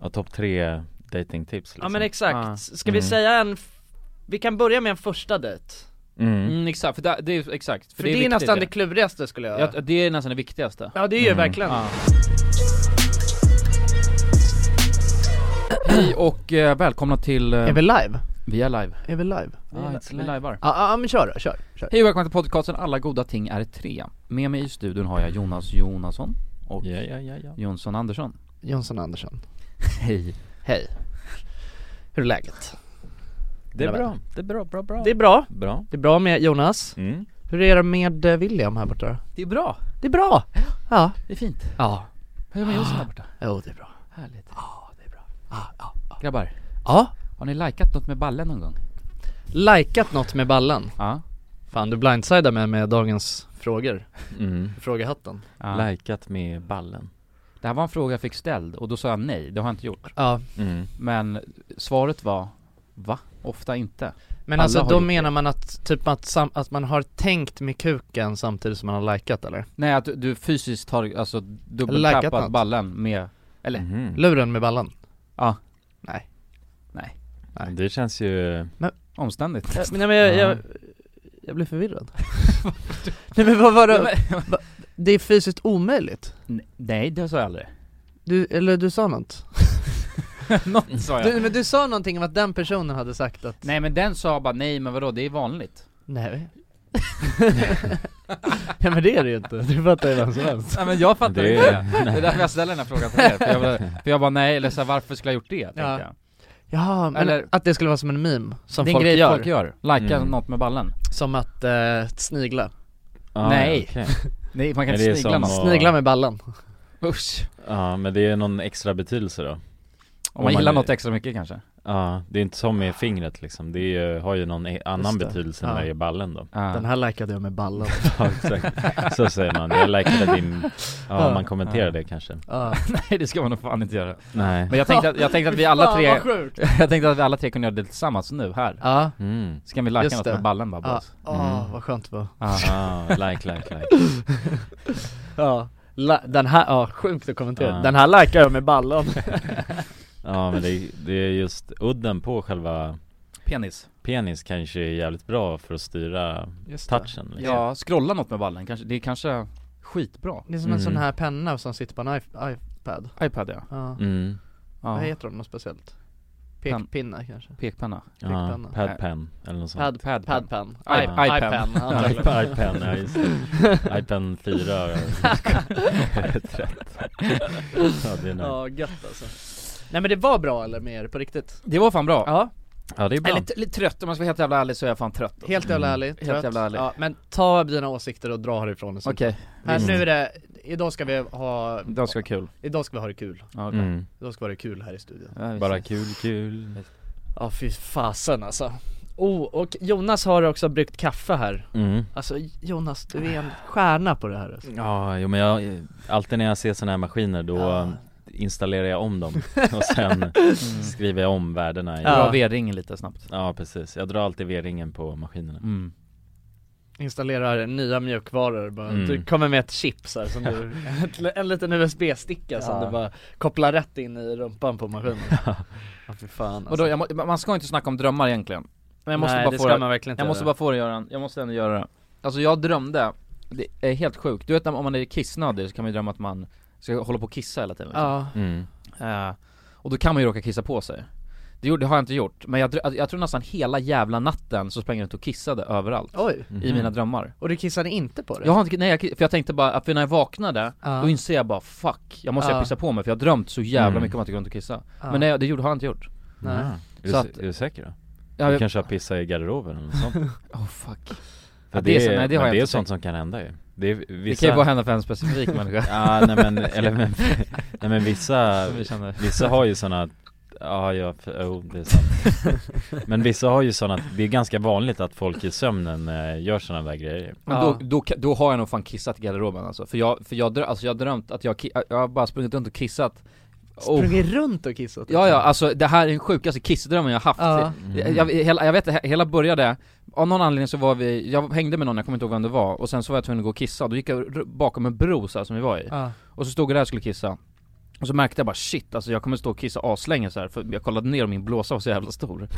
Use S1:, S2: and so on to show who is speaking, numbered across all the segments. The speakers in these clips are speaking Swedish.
S1: Ja, topp tre datingtips
S2: typ,
S1: liksom.
S3: Ja men exakt,
S4: Ah.
S3: ska vi
S1: Mm.
S3: säga en, f- vi kan börja med en första dejt
S1: mm.
S4: Mm, exakt, för det, det är exakt, för,
S3: För det är,
S4: viktigt,
S3: nästan det
S4: det.
S3: klurigaste skulle jag
S4: Ja, det är nästan det viktigaste
S3: Ja det är ju
S1: Mm.
S3: verkligen
S2: Ah.
S4: Ja. Hej och eh, välkomna till... eh,
S2: Är vi live?
S4: vi är live.
S2: Är vi live?
S4: Vi är, vi livear.
S2: Ja, ah, ah, men kör då, kör, kör
S4: Hej och välkomna till podcasten Alla goda ting är tre. Med mig i studion har jag Jonas Jonasson och
S1: Ja, ja, ja, ja.
S4: Jonsson Andersson.
S2: Jonsson Andersson
S4: Hej.
S2: Hej Hur är läget?
S1: Det är
S2: Mina
S1: bra, det är bra, bra, bra
S3: Det är bra,
S1: Bra
S2: Det är bra med Jonas
S1: mm.
S2: Hur är det med eh, William här borta då?
S4: Det är bra.
S2: Det är bra! Ja
S4: Det är fint.
S2: Ja
S4: Hur är det med Jonsson där borta?
S2: Jo det är bra
S4: Härligt.
S2: Ja, ja
S4: Grabbar,
S2: Ja,
S4: har ni likat något med ballen någon gång? Ah.
S2: likat något med ballen
S4: Ja.
S2: Fan du blindsidar mig med dagens frågor
S1: Mm.
S2: Frågehatten
S4: ja.
S1: Likat med ballen
S4: Det här var en fråga jag fick ställd och då sa jag nej, det har jag inte gjort.
S2: Ja
S1: mm.
S4: Men svaret var, va? Ofta inte.
S2: Men
S4: Alla
S2: alltså
S4: har
S2: då
S4: gjort
S2: menar man att, typ att, sam- att man har tänkt med kuken samtidigt som man har likat eller?
S4: Nej att du fysiskt har alltså
S2: Likat
S4: dubbeltappat
S2: något.
S4: ballen med, eller?
S1: Mhm.
S2: Luren med ballen?
S4: Ja.
S2: Nej
S1: Men Det känns ju,
S4: Omständigt
S2: Ja, men, Eh, nej, men jag, jag, jag blev förvirrad Nej men vad var det, det är fysiskt omöjligt?
S4: N- Nej det sa jag aldrig
S2: Du, eller du sa något?
S4: Något sa jag
S2: Du, men du sa någonting om att den personen hade sagt att
S4: Mm. Nej men den sa bara nej men vadå det är vanligt
S2: Nej Ja men det är det ju inte, du fattar ju vem som helst
S4: Nej men jag fattar
S1: Det-
S4: inte det, det är därför jag ställer den här frågan till er, för jag, bara- för jag bara nej eller så här, varför skulle jag gjort det? tänkte
S2: Ja.
S4: jag.
S2: Ja, men
S4: Eller-
S2: att det skulle vara som en meme som
S4: Det är en
S2: folk
S4: grej
S2: gör,
S4: folk gör, likea
S1: Mm.
S4: något med ballen
S2: som att eh, snigla,
S1: ja,
S4: Nej.
S1: okej.
S4: Nej man kan
S1: Men det är
S4: inte snigla
S1: som
S4: något,
S1: att-
S2: snigla med ballen
S4: usch
S1: Ja men det är någon extra betydelse då
S4: Om man
S1: Om
S4: gillar
S1: man-
S4: något extra mycket kanske
S1: Ja, det är inte som med fingret liksom, det är, ju- har ju någon e- annan
S2: Just det.
S1: betydelse
S2: Ja.
S1: när det är ballen då
S4: Ja.
S2: Den här likade jag med ballen
S1: Ja exakt, så säger man, jag likade din, ja
S2: Ja.
S1: man kommenterar
S4: Ja.
S1: det kanske
S2: Ja,
S4: Nej det ska man nog fan inte göra
S1: Nej
S4: Men jag tänkte att, jag tänkte att vi alla
S2: Fan,
S4: tre,
S2: vad sjukt!
S4: jag tänkte att vi alla tre kunde göra det tillsammans nu här
S2: Ja,
S1: mm.
S4: Ska vi lajka
S2: Just
S4: något
S2: det.
S4: med ballen bara
S2: ja,
S4: boys?
S2: Åh,
S1: Mm.
S2: vad skönt det var
S4: Ja.
S1: Ah, like, like, like
S2: Ja, la, den här, ja sjukt att kommentera,
S1: Ja.
S2: den här likar jag med ballen
S1: Ja men det, det är just udden på själva
S4: Penis
S1: penis kanske är jävligt bra för att styra touchen liksom.
S4: Ja, scrolla något med ballen kanske, det är kanske skitbra
S2: Det är som en
S1: Mm.
S2: sån här penna som sitter på en if- iPad
S4: iPad ja,
S2: ja.
S1: Mm,
S2: vad
S4: ja.
S2: heter de något speciellt?
S4: Pen-
S2: Pekpinne kanske?
S4: pekpenna
S1: ja,
S2: Fickpenna.
S1: pad pen eller något sånt
S4: Padpen
S2: Pad, padpen,
S4: I-
S2: iPad,
S4: iPen.
S2: iPen antagligen.
S1: iPad, iPen, ja just det. iPen 4 har jag rätt ja, det är nice.
S2: Ja, gött alltså Nej men det var bra eller med er på riktigt?
S4: Det var fan bra,
S2: Ja,
S1: ja det är bra
S4: eller typ- t- lite trött om man ska vara helt jävla ärlig så är jag fan trött
S2: helt jävla
S1: Mm.
S2: ärligt
S4: Helt jävla ärlig.
S2: ja, Men ta dina åsikter och dra härifrån och sånt.
S4: Okej,
S2: Här,
S1: Mm.
S2: nu är det, idag ska vi ha,
S4: det ska vara kul
S2: idag ska vi ha det kul
S4: ja, okej.
S1: mm.
S2: Idag ska vi ha det kul här i studion
S4: Ja, vi
S1: Bara
S4: ses.
S1: kul, kul
S2: Ja fy fasen alltså Oh, och Jonas har också bryggt kaffe här
S1: mm.
S2: Alltså Jonas, du är en stjärna på det här alltså.
S1: Ja, jo, men jag, alltid när jag ser sådana här maskiner då ehm,
S2: Ja.
S1: installerar jag om dem och sen skriver jag om värdena i
S2: Ja.
S1: ja.
S4: Dra V-ringen lite snabbt
S1: precis, jag drar alltid V-ringen på maskinerna
S4: mm.
S2: Installerar nya mjukvaror bara.
S1: Mm.
S2: Du kommer med ett chip så här, som du, en- en liten USB-sticka som
S4: Ja.
S2: du bara kopplar rätt in i rumpan på maskinen Ja fy fan alltså.
S4: Och då, jag må, man ska inte snacka om drömmar egentligen Men jag måste
S2: Nej
S4: bara
S2: det
S4: få
S2: ska
S4: det-
S2: man verkligen inte
S4: Jag måste
S2: göra.
S4: bara få det Göran, jag måste ändå göra det Alltså jag drömde, det är helt sjukt, du vet när- om man är kissnödig så kan man ju drömma att man ska hålla på och kissa hela tiden liksom.
S2: Ja,
S1: mm.
S4: Eh, Och då kan man ju råka kissa på sig Det, gjorde, det har jag inte gjort, men jag, dr- jag tror nästan hela jävla natten så sprang jag ut och kissade överallt
S2: oj,
S1: Mm.
S4: I mina drömmar
S2: och du kissade inte på det?
S4: Jag har inte, nej jag, ki- för jag tänkte bara, att för när jag vaknade,
S2: Ja.
S4: då inser jag bara 'fuck' Jag måste
S2: Ja.
S4: pissa på mig för jag har drömt så jävla
S1: Mm.
S4: mycket om att jag går runt och kissa
S2: Ja.
S4: Men nej, det gjorde, har jag inte gjort
S2: Nej.
S1: Ja. Är, du,
S4: Ah. Så
S1: så
S4: att-
S1: är du säker då?
S4: jag,
S1: Du kanske har pissat i garderoben eller något sånt?
S4: Oh fuck
S1: För det,
S4: Ja, det är så-
S1: är,
S4: nej, det har
S1: men
S4: jag
S1: det är
S4: inte
S1: sånt som kan hända ju Det är vissa...
S4: Det kan ju bara hända för en specifik människa
S1: Ja nej men, eller men, nej men vissa,
S4: som vi känner
S1: vissa har ju såna, ja ja, f- jo det är sant Men vissa har ju såna, det är ganska vanligt att folk i sömnen eh, gör såna där grejer
S4: Men
S2: Ja.
S4: då, då, ka- då har jag nog fan kissat i garderoben alltså, för jag, för jag, drö- alltså jag har drömt att jag, ki- jag har bara sprungit runt och kissat oh.
S2: Sprungit runt och kissat?
S4: Ja ja, alltså det här är den sjukaste kissdrömmen jag har haft
S2: Ja.
S1: Mm.
S4: jag, jag, hela, jag vet inte, he- hela började, av någon anledning så var vi, jag hängde med någon, jag kommer inte ihåg vem det var, och sen så var jag tvungen att gå och kissa, då gick jag r- bakom en bro så här, som vi var i,
S2: Ja.
S4: och så stod jag där och skulle kissa Och så märkte jag bara shit, alltså jag kommer stå och kissa aslänge så här för jag kollade ner och min blåsa var så jävla stor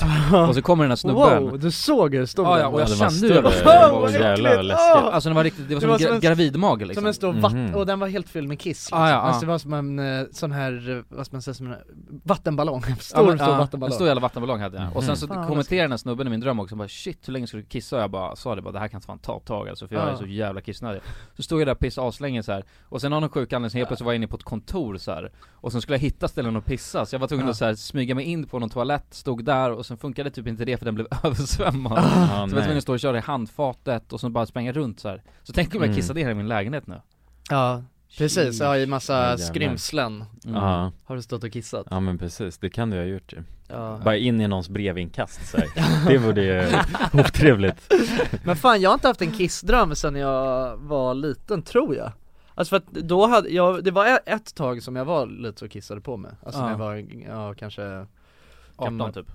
S4: Och så kommer den här snubben
S2: Wow, du såg hur stor
S4: Ja, ja, och
S2: den var.
S4: jag
S1: det var
S4: kände ju det.
S1: större. Det
S4: Åh,
S1: var
S4: vad
S1: jävlar vad
S3: äckligt.
S1: läskigt
S3: Åh!
S4: Alltså den var riktigt, det var som,
S2: var
S4: en,
S2: som
S4: gra-
S2: en-
S4: gravidmage liksom
S3: Som en stor vatten,
S1: Mhm.
S3: och den var helt fylld med kiss liksom.
S4: Ah, ja,
S2: Alltså
S4: ah.
S2: det var som en eh, sån här, eh, vad ska man säga, som en eh, vattenballong, en
S4: Ja,
S2: stor,
S4: men,
S2: stor
S4: ja, En
S2: vattenballong Mm.
S4: stor jävla vattenballong hade jag. Och sen så
S2: Fan, vad
S4: kommenterade den här snubben i min dröm också, bara shit hur länge ska du kissa? Och jag bara sa det bara, det här kan fan ta ett tag alltså, för jag
S2: Ja.
S4: är så jävla kissnödig. Så stod jag där och pissade aslänge så här. och sen av någon sjuk anledning så helt plötsligt var jag inne på ett kontor så här. och sen skulle jag hitta ställen att pissa, så jag var tvungen
S2: Ja.
S4: att så här, smyga mig in på någon toalett, stod där och sen funkade typ inte det för den blev översvämmad.
S1: Ja,
S4: Så jag var tvungen
S1: nej.
S4: att stå och köra i handfatet och sen bara spränga runt så här. Så tänk om jag
S1: Mm.
S4: kissade ner i min lägenhet nu.
S2: Ja, precis, ja i
S1: Ja,
S2: massa
S1: jävlar.
S2: skrymslen
S4: Mm.
S1: Ja,
S2: har du stått och kissat
S1: ja men precis, det kan du ha gjort ju
S2: Ja.
S1: Bara in i någons brevinkast så här. det vore ju otrevligt
S2: Men fan jag har inte haft en kissdröm sen jag var liten tror jag Alltså för att då hade jag, det var e- ett tag som jag var lite så kissade på mig Alltså när
S4: Ja.
S2: jag var, ja kanske,
S4: 18 typ.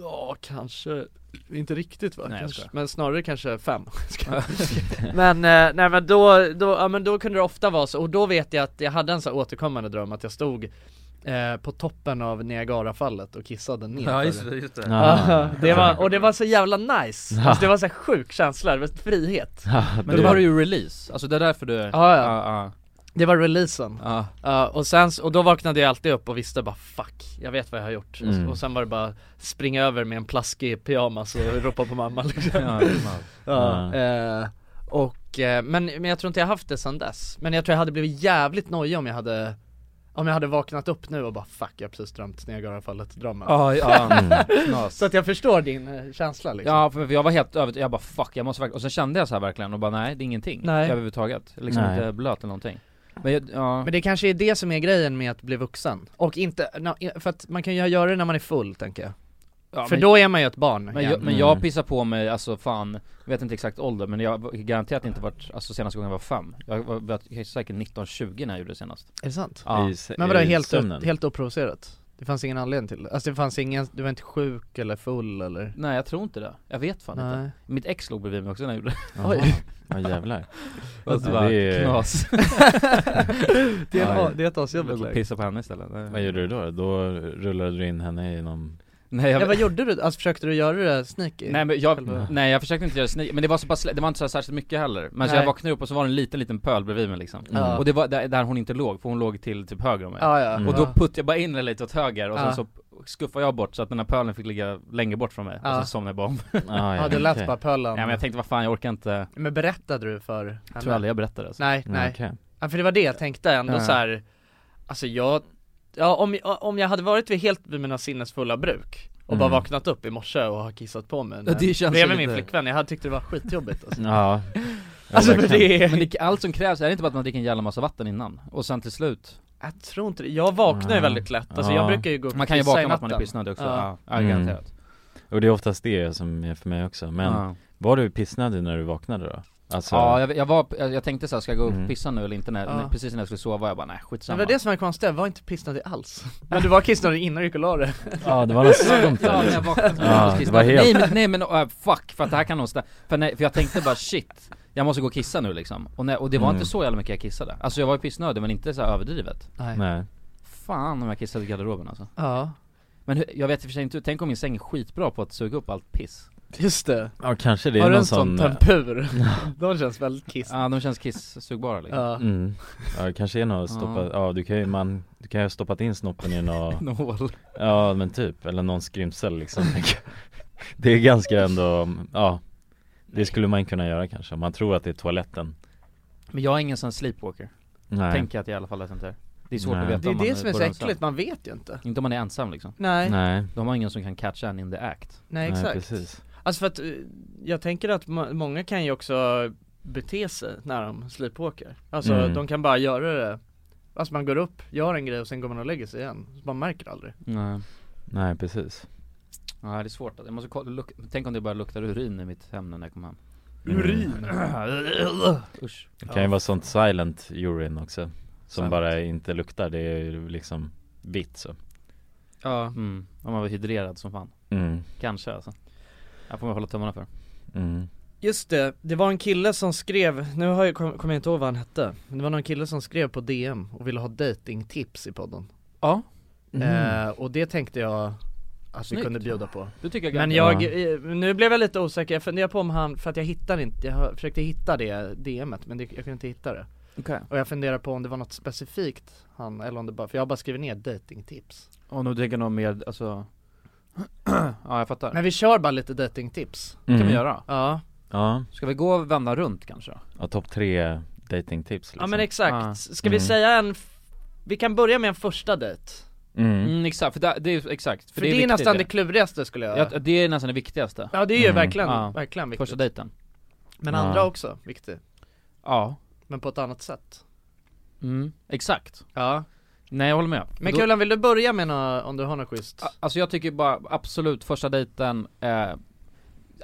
S2: ja kanske, inte riktigt va?
S4: Nej, jag
S2: kanske,
S4: skojar.
S2: men snarare kanske fem Men, eh, nej men då, då, ja, men då kunde det ofta vara så, och då vet jag att jag hade en så här återkommande dröm att jag stod eh, på toppen av Niagarafallet och kissade ner
S4: det, just det.
S2: Ja,
S1: Ja.
S2: det var, och det var så jävla nice,
S1: Ja.
S2: alltså, det var så här sjuk känsla, det var frihet
S1: Ja,
S4: Men
S1: det-
S4: då var det ju release, alltså det är därför du...
S2: Ja, ja.
S4: ja,
S2: Det var releasen,
S4: ja.
S2: Ja, och sen, s- och då vaknade jag alltid upp och visste bara fuck, jag vet vad jag har gjort
S1: Mm.
S2: och, och sen var det bara springa över med en plaskig pyjamas och ropa på mamma liksom.
S4: Ja,
S2: Ja, eh, och, eh, men, men jag tror inte jag haft det sen dess, men jag tror jag hade blivit jävligt nojig om jag hade om jag hade vaknat upp nu och bara fuck jag har precis drömt Niagarafallet drömmen
S4: ja, ja.
S2: Så att jag förstår din eh, känsla liksom
S4: ja för för jag var helt övertygad, jag bara fuck jag måste verkligen, och sen kände jag så här verkligen och bara nej det är ingenting
S2: Nej.
S4: överhuvudtaget, liksom
S1: Nej.
S4: inte blöt eller någonting Men jag, ja,
S2: Men det kanske är det som är grejen med att bli vuxen, och inte, na- för att man kan ju göra det när man är full tänker jag
S4: ja
S2: För
S4: men,
S2: då är man ju ett barn
S4: men,
S2: igen.
S4: jag, men
S1: Mm.
S4: jag pissar på mig, alltså fan, jag vet inte exakt ålder men jag var- garanterat inte varit, alltså senaste gången jag var fem Jag var var säkert 19-20 när jag gjorde det senast
S2: Är det sant?
S4: ja.
S1: i s-
S2: Men vadå
S1: i
S2: helt,
S1: sömnen.
S2: helt oprovocerat? Det fanns ingen anledning till det? Alltså det fanns ingen, du var inte sjuk eller full eller?
S4: Nej jag tror inte det, jag vet fan inte
S2: Nej
S4: Mitt ex låg bredvid mig också när jag gjorde
S1: Jaha.
S2: Oj.
S1: Ja jävlar
S4: det,
S1: det
S4: var
S1: är-
S4: knas
S2: det, är
S1: Ja.
S2: en, det är ett asjobbigt
S4: Jag
S2: läge
S4: pissade på henne istället Nej.
S1: Vad gjorde du då? Då rullade du in henne i någon
S4: Nej jag,
S2: Ja vad gjorde du? Alltså försökte du göra det sneaky?
S4: Nej men jag,
S2: Själva-
S4: nej jag försökte inte göra sneak, men det var så pass, det var inte så här särskilt mycket heller Men så
S2: Nej.
S4: jag vaknade upp och så var det en liten liten pöl bredvid mig liksom
S2: Ja.
S4: Och det var där, där hon inte låg, för hon låg till typ höger om mig
S2: Ja ja
S1: Mm.
S4: Och då puttade jag bara in henne lite åt höger och sen
S2: Ja.
S4: så skuffade jag bort så att den här pölen fick ligga längre bort från mig
S2: Ja.
S4: och så somnade jag bara om
S1: Ah,
S2: Ja det lät bara pölen
S4: Nej men jag tänkte vad fan jag orkar inte,
S2: Men berättade du för henne?
S4: jag tror aldrig jag berättade alltså.
S2: Nej,
S1: Nej
S2: nej, ja, för det var det jag tänkte ändå
S4: Ja.
S2: så här. Alltså jag, ja om, om jag hade varit vid helt vid mina sinnesfulla bruk och bara
S1: Mm.
S2: vaknat upp i morse och har kissat på mig
S4: Ja, det känns
S2: bredvid min
S4: lite-
S2: flickvän, jag hade tyckt det var skitjobbigt alltså.
S1: Ja
S2: Alltså men
S1: verkligen.
S2: det är
S4: Men det, allt som krävs, är det inte bara att man dricker en jävla massa vatten innan? Och sen till slut,
S2: Jag tror inte det, jag vaknar ju
S1: Ja.
S2: väldigt lätt, alltså
S1: Ja.
S2: jag brukar ju gå och
S4: man kan ju
S2: pissa i
S4: vakna med att man är
S2: natten.
S4: pissnödig också,
S2: Ja.
S4: ja, ja
S1: Mm.
S4: garanterat
S1: Och det är oftast det som är för mig också, men
S4: ja.
S1: var du pissnödig när du vaknade då? Alltså,
S4: Ja, jag, jag var, jag, jag tänkte såhär, ska jag gå upp
S1: Mm.
S4: och pissa nu eller inte? När,
S2: Ja.
S4: när, precis när jag skulle sova, jag bara nej
S2: Men
S4: skitsamma
S2: det var det som var konstigt, jag var inte pissnödig alls Men du var kissnödig innan du gick och la dig
S1: ja det var något skumt
S4: Ja, när
S1: där
S4: jag vaknade så
S1: Ja,
S4: var jag
S1: det
S4: kissnödig.
S1: var helt-
S4: Nej men, nej men äh, fuck, för att det här kan nog stä- för, nej, för jag tänkte bara shit, jag måste gå och kissa nu liksom Och, nej, och det var
S1: Mm.
S4: inte så jävla mycket jag kissade Alltså jag var ju pissnödig men inte så här överdrivet
S1: Nej,
S4: Fan om jag kissade i garderoben alltså
S2: Ja,
S4: Men hur, jag vet i och för sig inte, tänk om min säng är skitbra på att suga upp allt piss
S2: just det,
S1: ja kanske det är
S2: har du
S1: någon
S2: en sån
S1: sån, eh,
S2: tempur? De känns väldigt kiss
S4: Ja de känns kissugbara liksom
S2: Ja,
S1: mm, ja det kanske är något stoppa, ja. du kan ju man, du kan ju ha stoppat in snoppen i någon,
S4: Någon hål.
S1: ja men typ, eller någon skrymsel liksom Det är ganska ändå, ja Det skulle man kunna göra kanske, om man tror att det är toaletten
S4: Men jag är ingen sån sleepwalker,
S1: Nej,
S4: tänker jag att jag i alla fall att jag inte är Det är svårt
S1: Nej.
S4: att veta
S2: det är
S4: om man
S2: det som är så
S4: bor ensam.
S2: äckligt, man vet ju inte
S4: Inte om man är ensam liksom
S2: Nej, nej,
S1: nej,
S4: De har ingen som kan catcha en in the act
S1: nej
S2: exakt
S1: precis
S2: Alltså för att eh, jag tänker att ma- många kan ju också bete sig när de sleepwalkar Alltså
S1: Mm.
S2: de kan bara göra det Alltså man går upp, gör en grej och sen går man och lägger sig igen, så man märker aldrig
S4: Nej
S1: Nej precis
S4: Ja det är svårt, jag måste kolla, luk- tänk om det bara luktar urin i mitt hem nu när jag kommer hem
S2: Mm.
S1: Urin.
S4: Usch
S1: Det Mm. kan ju vara sånt silent urin också Som
S4: Sant.
S1: bara inte luktar, det är ju liksom vitt så
S4: Ja mm. om man var hydrerad som fan,
S1: mm.
S4: kanske alltså Jag får man hålla tummarna för
S1: Mm.
S2: Just det, det var en kille som skrev, nu har jag, kom- kommer jag inte ihåg vad han hette Men det var någon kille som skrev på DM och ville ha datingtips i podden
S4: Ja, Mm.
S2: eh, Och det tänkte jag att vi
S4: Snyggt.
S2: kunde bjuda på
S4: det tycker jag
S2: Men
S4: garanterat.
S2: jag, eh, nu blev jag lite osäker, jag funderar på om han, för att jag hittar inte, jag har- försökte hitta det DMet men det, jag kunde inte hitta det
S4: Okej.
S2: Och jag funderar på om det var något specifikt han, eller om det bara, för jag har bara skrivit ner datingtips
S4: Om du tänker något mer, alltså Ja jag fattar,
S2: Men vi kör bara lite datingtips
S4: det
S1: Mm.
S4: kan vi göra
S2: Ja,
S1: Ja,
S4: Ska vi gå och vända runt kanske?
S1: ja topp tre datingtips
S2: ja
S1: liksom.
S2: men
S4: Ah.
S2: exakt, ska vi
S1: Mm.
S2: säga en, f- vi kan börja med en första dejt
S1: mm.
S4: Mm, exakt, för det, det är exakt,
S2: För, det, är, nästan det
S4: viktigt,
S2: klurigaste skulle jag
S4: ja, Det är nästan det viktigaste,
S2: Ja det är ju
S1: Mm.
S2: verkligen,
S4: Ja.
S2: verkligen viktigt
S4: första dejten
S2: Men
S1: Ja.
S2: andra också, viktigt
S4: Ja,
S2: Men på ett annat sätt
S4: mm, exakt
S2: Ja
S4: Nej jag håller med
S2: Men
S4: Då-
S2: Kulan, vill du börja med något, om du har något schysst?
S4: A- Alltså jag tycker bara absolut första dejten, eh,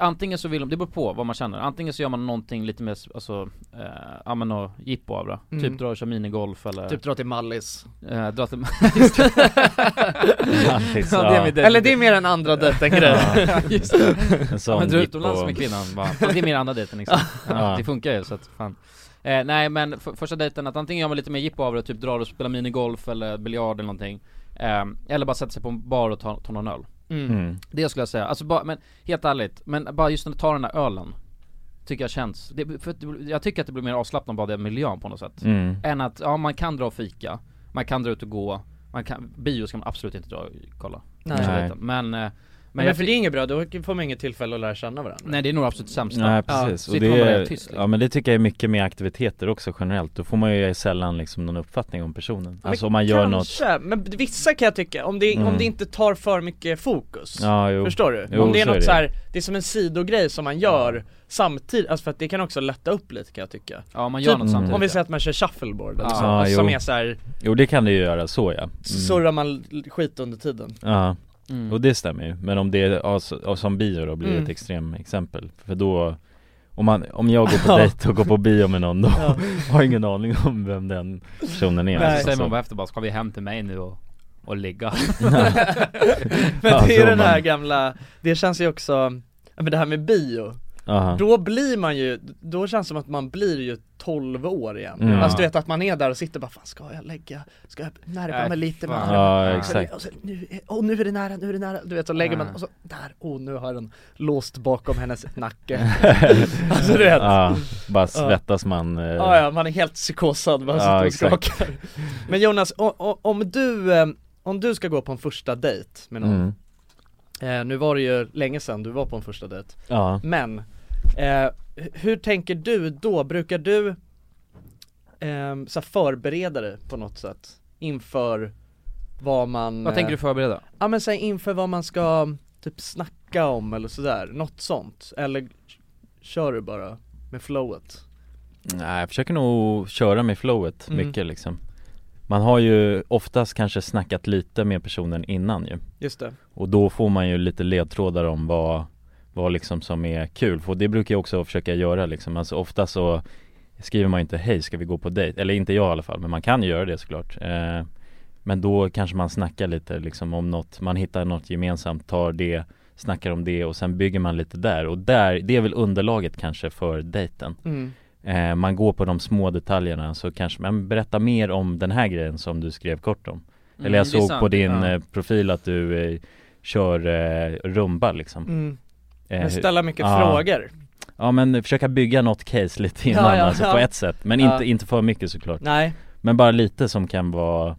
S4: antingen så vill de, det beror på vad man känner, antingen så gör man någonting lite mer, s- alltså, eh, ja men och jippo av det.
S2: Mm.
S4: Typ dra och köra minigolf eller
S2: Typ dra till Mallis
S4: eh, dra till
S1: Mallis,
S4: Ja, det är
S1: ja.
S4: min dejt.
S2: Eller det är mer en andra dejten grej
S1: Ja,
S4: Just det.
S1: en
S4: Ja,
S1: sån
S4: men dra
S1: jippo.
S4: utomlands med kvinnan bara, fast det är mer andra dejten liksom. ja,
S1: Ja.
S4: Det funkar ju så att fan eh, Nej men f- första dejten, att antingen gör man lite mer jippo av det, typ drar och spelar minigolf eller biljard eller någonting eh, Eller bara sätter sig på en bar och tar, tar någon öl
S2: mm.
S1: mm.
S4: Det skulle jag säga, alltså bara, men helt ärligt, men bara just när du tar den där ölen Tycker jag känns, det, för att, det- jag tycker att det blir mer avslappnat bara den miljön på något sätt
S1: Mm.
S4: Än att, ja man kan dra och fika, man kan dra ut och gå, man kan, bio ska man absolut inte dra och kolla
S2: Nej.
S4: Kanske
S1: Nej.
S4: lite. Men, eh, men,
S2: Men,
S4: jag
S2: för det är inget bra, då får man inget tillfälle att lära känna varandra
S4: Nej det är nog det absolut sämsta
S1: Nej precis,
S4: Ja,
S1: och
S4: sitter man
S1: det
S4: bara
S1: är,
S4: helt tyst, liksom.
S1: ja men det tycker jag är mycket med aktiviteter också generellt Då får man ju sällan liksom någon uppfattning om personen
S2: Men
S1: Alltså om man gör något
S2: Kanske, men vissa kan jag tycka, om det,
S1: Mm.
S2: om det inte tar för mycket fokus
S1: Ja jo,
S2: Förstår du?
S1: Jo,
S2: Om det är
S1: så är
S2: något
S1: det.
S2: så här, det är som en sidogrej som man gör samtidigt, alltså för att det kan också lätta upp lite kan jag tycka
S4: Ja man gör
S2: Typ,
S1: Mm.
S4: något samtidigt
S2: Om vi säger att man kör shuffleboard eller
S4: Ja.
S2: så,
S1: Ja,
S2: alltså, som
S1: jo.
S2: är så här,
S1: jo det kan det ju göra så ja
S2: så
S1: Mm.
S2: surrar man l- skit under tiden
S1: Ja,
S4: mm.
S1: och det stämmer ju Men om det är, ja, så- ja, som bio då blir det ett
S2: Mm.
S1: extremexempel För då om, man, om jag går på
S2: Ja.
S1: dejt och går på bio med någon då
S2: Ja.
S1: har jag ingen aning om vem den personen är
S2: Nej.
S4: Så
S1: alltså.
S4: säger man bara efter bara, ska vi hem till mig nu och, och ligga?
S2: Men
S1: Ja,
S2: det är
S1: så
S2: den här
S1: man-
S2: gamla, det känns ju också, ja, men det här med bio,
S1: Aha.
S2: då blir man ju, då känns det som att man blir ju 12 år igen
S1: Mm.
S2: Alltså du vet att man är där och sitter bara, fan ska jag lägga, ska jag närma
S4: Nej,
S2: mig lite med
S4: fan.
S2: armen?
S1: Ja
S4: Ja.
S1: exakt
S2: Och så, nu, är- åh nu är det nära, nu är det nära, du vet så lägger man,
S4: Ja.
S2: och så där, åh nu har den låst bakom hennes nacke Alltså du vet, ja.
S1: Ja, bara svettas man eh,
S2: Ja, man är helt psykosad, man
S1: Ja,
S2: sitter och
S1: exakt.
S2: skakar Men Jonas, o- o- om du, eh, om du ska gå på en första dejt med någon,
S1: mm.
S2: eh, nu var det ju länge sedan du var på en första dejt
S1: Ja,
S2: Men, eh, hu- hur tänker du då? Brukar du ehm, så här förbereda dig på något sätt? Inför vad man...
S4: Vad tänker du förbereda?
S2: Ja men säg inför vad man ska typ snacka om eller sådär, något sånt. Eller kör du bara med flowet?
S1: nej jag försöker nog köra med flowet
S2: Mm.
S1: mycket liksom Man har ju oftast kanske snackat lite med personen innan ju
S2: Just det.
S1: Och då får man ju lite ledtrådar om vad, vad liksom som är kul För det brukar jag också försöka göra liksom Alltså ofta så skriver man ju inte hej ska vi gå på dejt Eller inte jag i alla fall, men man kan ju göra det såklart eh, Men då kanske man snackar lite liksom om något Man hittar något gemensamt, tar det Snackar om det och sen bygger man lite där och där, det är väl underlaget kanske för dejten
S2: Mm.
S1: Eh, man går på de små detaljerna så kanske man berätta mer om den här grejen som du skrev kort om.
S2: Mm,
S1: Eller
S4: Mm,
S1: jag såg på din eh, profil att du eh, kör eh, rumba liksom.
S2: Mm.
S1: Eh,
S2: Men ställa mycket
S1: ja.
S2: frågor.
S1: ja men försöka bygga något case lite innan
S2: ja,
S1: alltså på
S2: ja.
S1: ett sätt. Men
S2: Ja.
S1: inte, inte för mycket såklart.
S2: Nej.
S1: Men bara lite som kan vara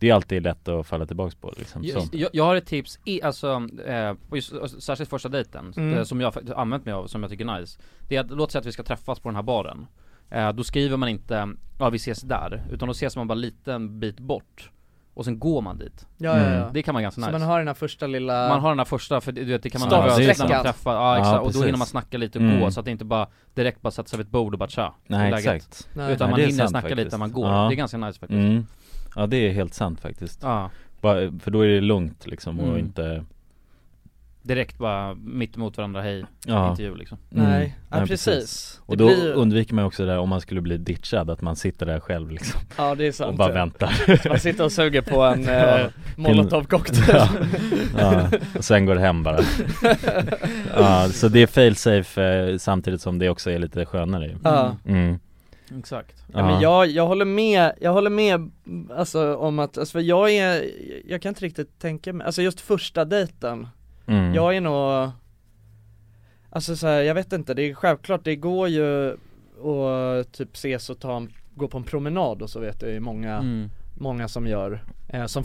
S1: det är alltid lätt att falla tillbaks på liksom. Så.
S4: jag, jag, jag har ett tips, i, alltså, eh, på just, alltså, särskilt första dejten,
S2: Mm.
S4: eh, som jag faktiskt har använt mig av, som jag tycker är nice Det är att, låt säga att vi ska träffas på den här baren eh, Då skriver man inte, ja vi ses där, utan då ses man bara en liten bit bort Och sen går man dit,
S2: Ja,
S1: Mm.
S2: ja, ja.
S4: det kan vara ganska
S2: Så
S4: nice
S2: man har den här första lilla...
S4: Man har den här första, för det- du vet det kan man
S1: Ja,
S4: vara nervös när
S2: stavsträckan.
S4: man träffar, ja
S1: Ja,
S4: exakt, och då
S1: precis.
S4: hinner man snacka lite och
S1: Mm.
S4: gå så att det inte bara direkt bara sätta sig vid ett bord och bara tja,
S1: Nej
S4: läget.
S1: exakt.
S2: Nej.
S4: Utan
S1: Nej,
S4: man
S1: det är
S4: hinner
S1: sant
S4: snacka lite
S1: faktiskt.
S4: när man går,
S1: Ja.
S4: det är ganska nice faktiskt
S1: Mm. Ja det är helt sant faktiskt.
S4: Ja,
S2: Mm.
S1: Bara, för då är det lugnt liksom och
S4: Mm.
S1: inte
S4: direkt bara mitt emot varandra, hej,
S1: Ja.
S4: intervju liksom
S1: Mm.
S2: Nej, ja,
S1: Nej,
S2: precis.
S1: precis.
S2: Det
S1: Och då
S2: blir ju-
S1: undviker man ju också det där om man skulle bli ditchad, att man sitter där själv liksom
S2: ja det är
S1: och
S2: sant.
S1: bara väntar
S2: Man sitter och suger på en eh,
S1: Ja.
S2: molotovcocktail.
S1: ja. ja, och sen går det hem bara Ja, så det är fail safe eh, samtidigt som det också är lite skönare ju.
S2: Ja.
S1: mm.
S4: Exakt
S2: Ja, men jag, jag håller med, jag håller med alltså, om att, alltså, för jag är, jag kan inte riktigt tänka mig, alltså just första dejten,
S1: mm.
S2: jag är nog, alltså så här, jag vet inte, det är självklart, det går ju att typ ses och ta en, gå på en promenad och så vet jag ju många,
S4: mm.
S2: många som gör, eh, som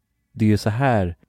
S1: det är ju så här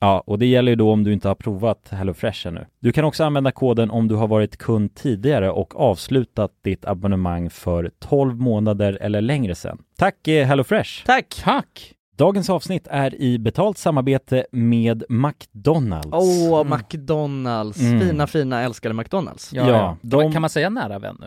S1: Ja, och det gäller ju då om du inte har provat HelloFresh ännu. Du kan också använda koden om du har varit kund tidigare och avslutat ditt abonnemang för 12 månader eller längre sedan. Tack eh, HelloFresh!
S2: Tack!
S4: Tack!
S1: Dagens avsnitt är i betalt samarbete med McDonalds.
S2: Åh,
S4: Mm.
S2: McDonalds.
S1: Mm.
S2: Fina, fina, älskade McDonalds. Ja,
S1: Ja, de-
S4: Kan man säga nära vän nu?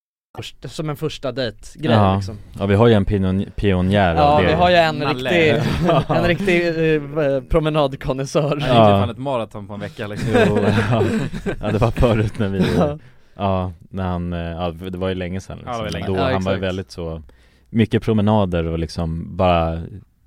S2: Först- Som en första dejt-grej
S1: Ja.
S2: liksom.
S1: Ja vi har ju en pion- pionjär
S2: Ja,
S1: av det
S2: vi har ju en
S4: Nalle.
S2: riktig, en riktig eh, promenadkonnässör.
S4: Jag gick
S1: Ja.
S4: ju typ fan ett maraton på en vecka liksom.
S1: Jo, ja. ja, det var förut när vi, ja, när han, eh, ja, det var ju länge sedan liksom.
S4: Ja, det var länge.
S1: Då
S2: Ja,
S1: han
S2: exakt.
S1: var ju väldigt så, mycket promenader och liksom bara,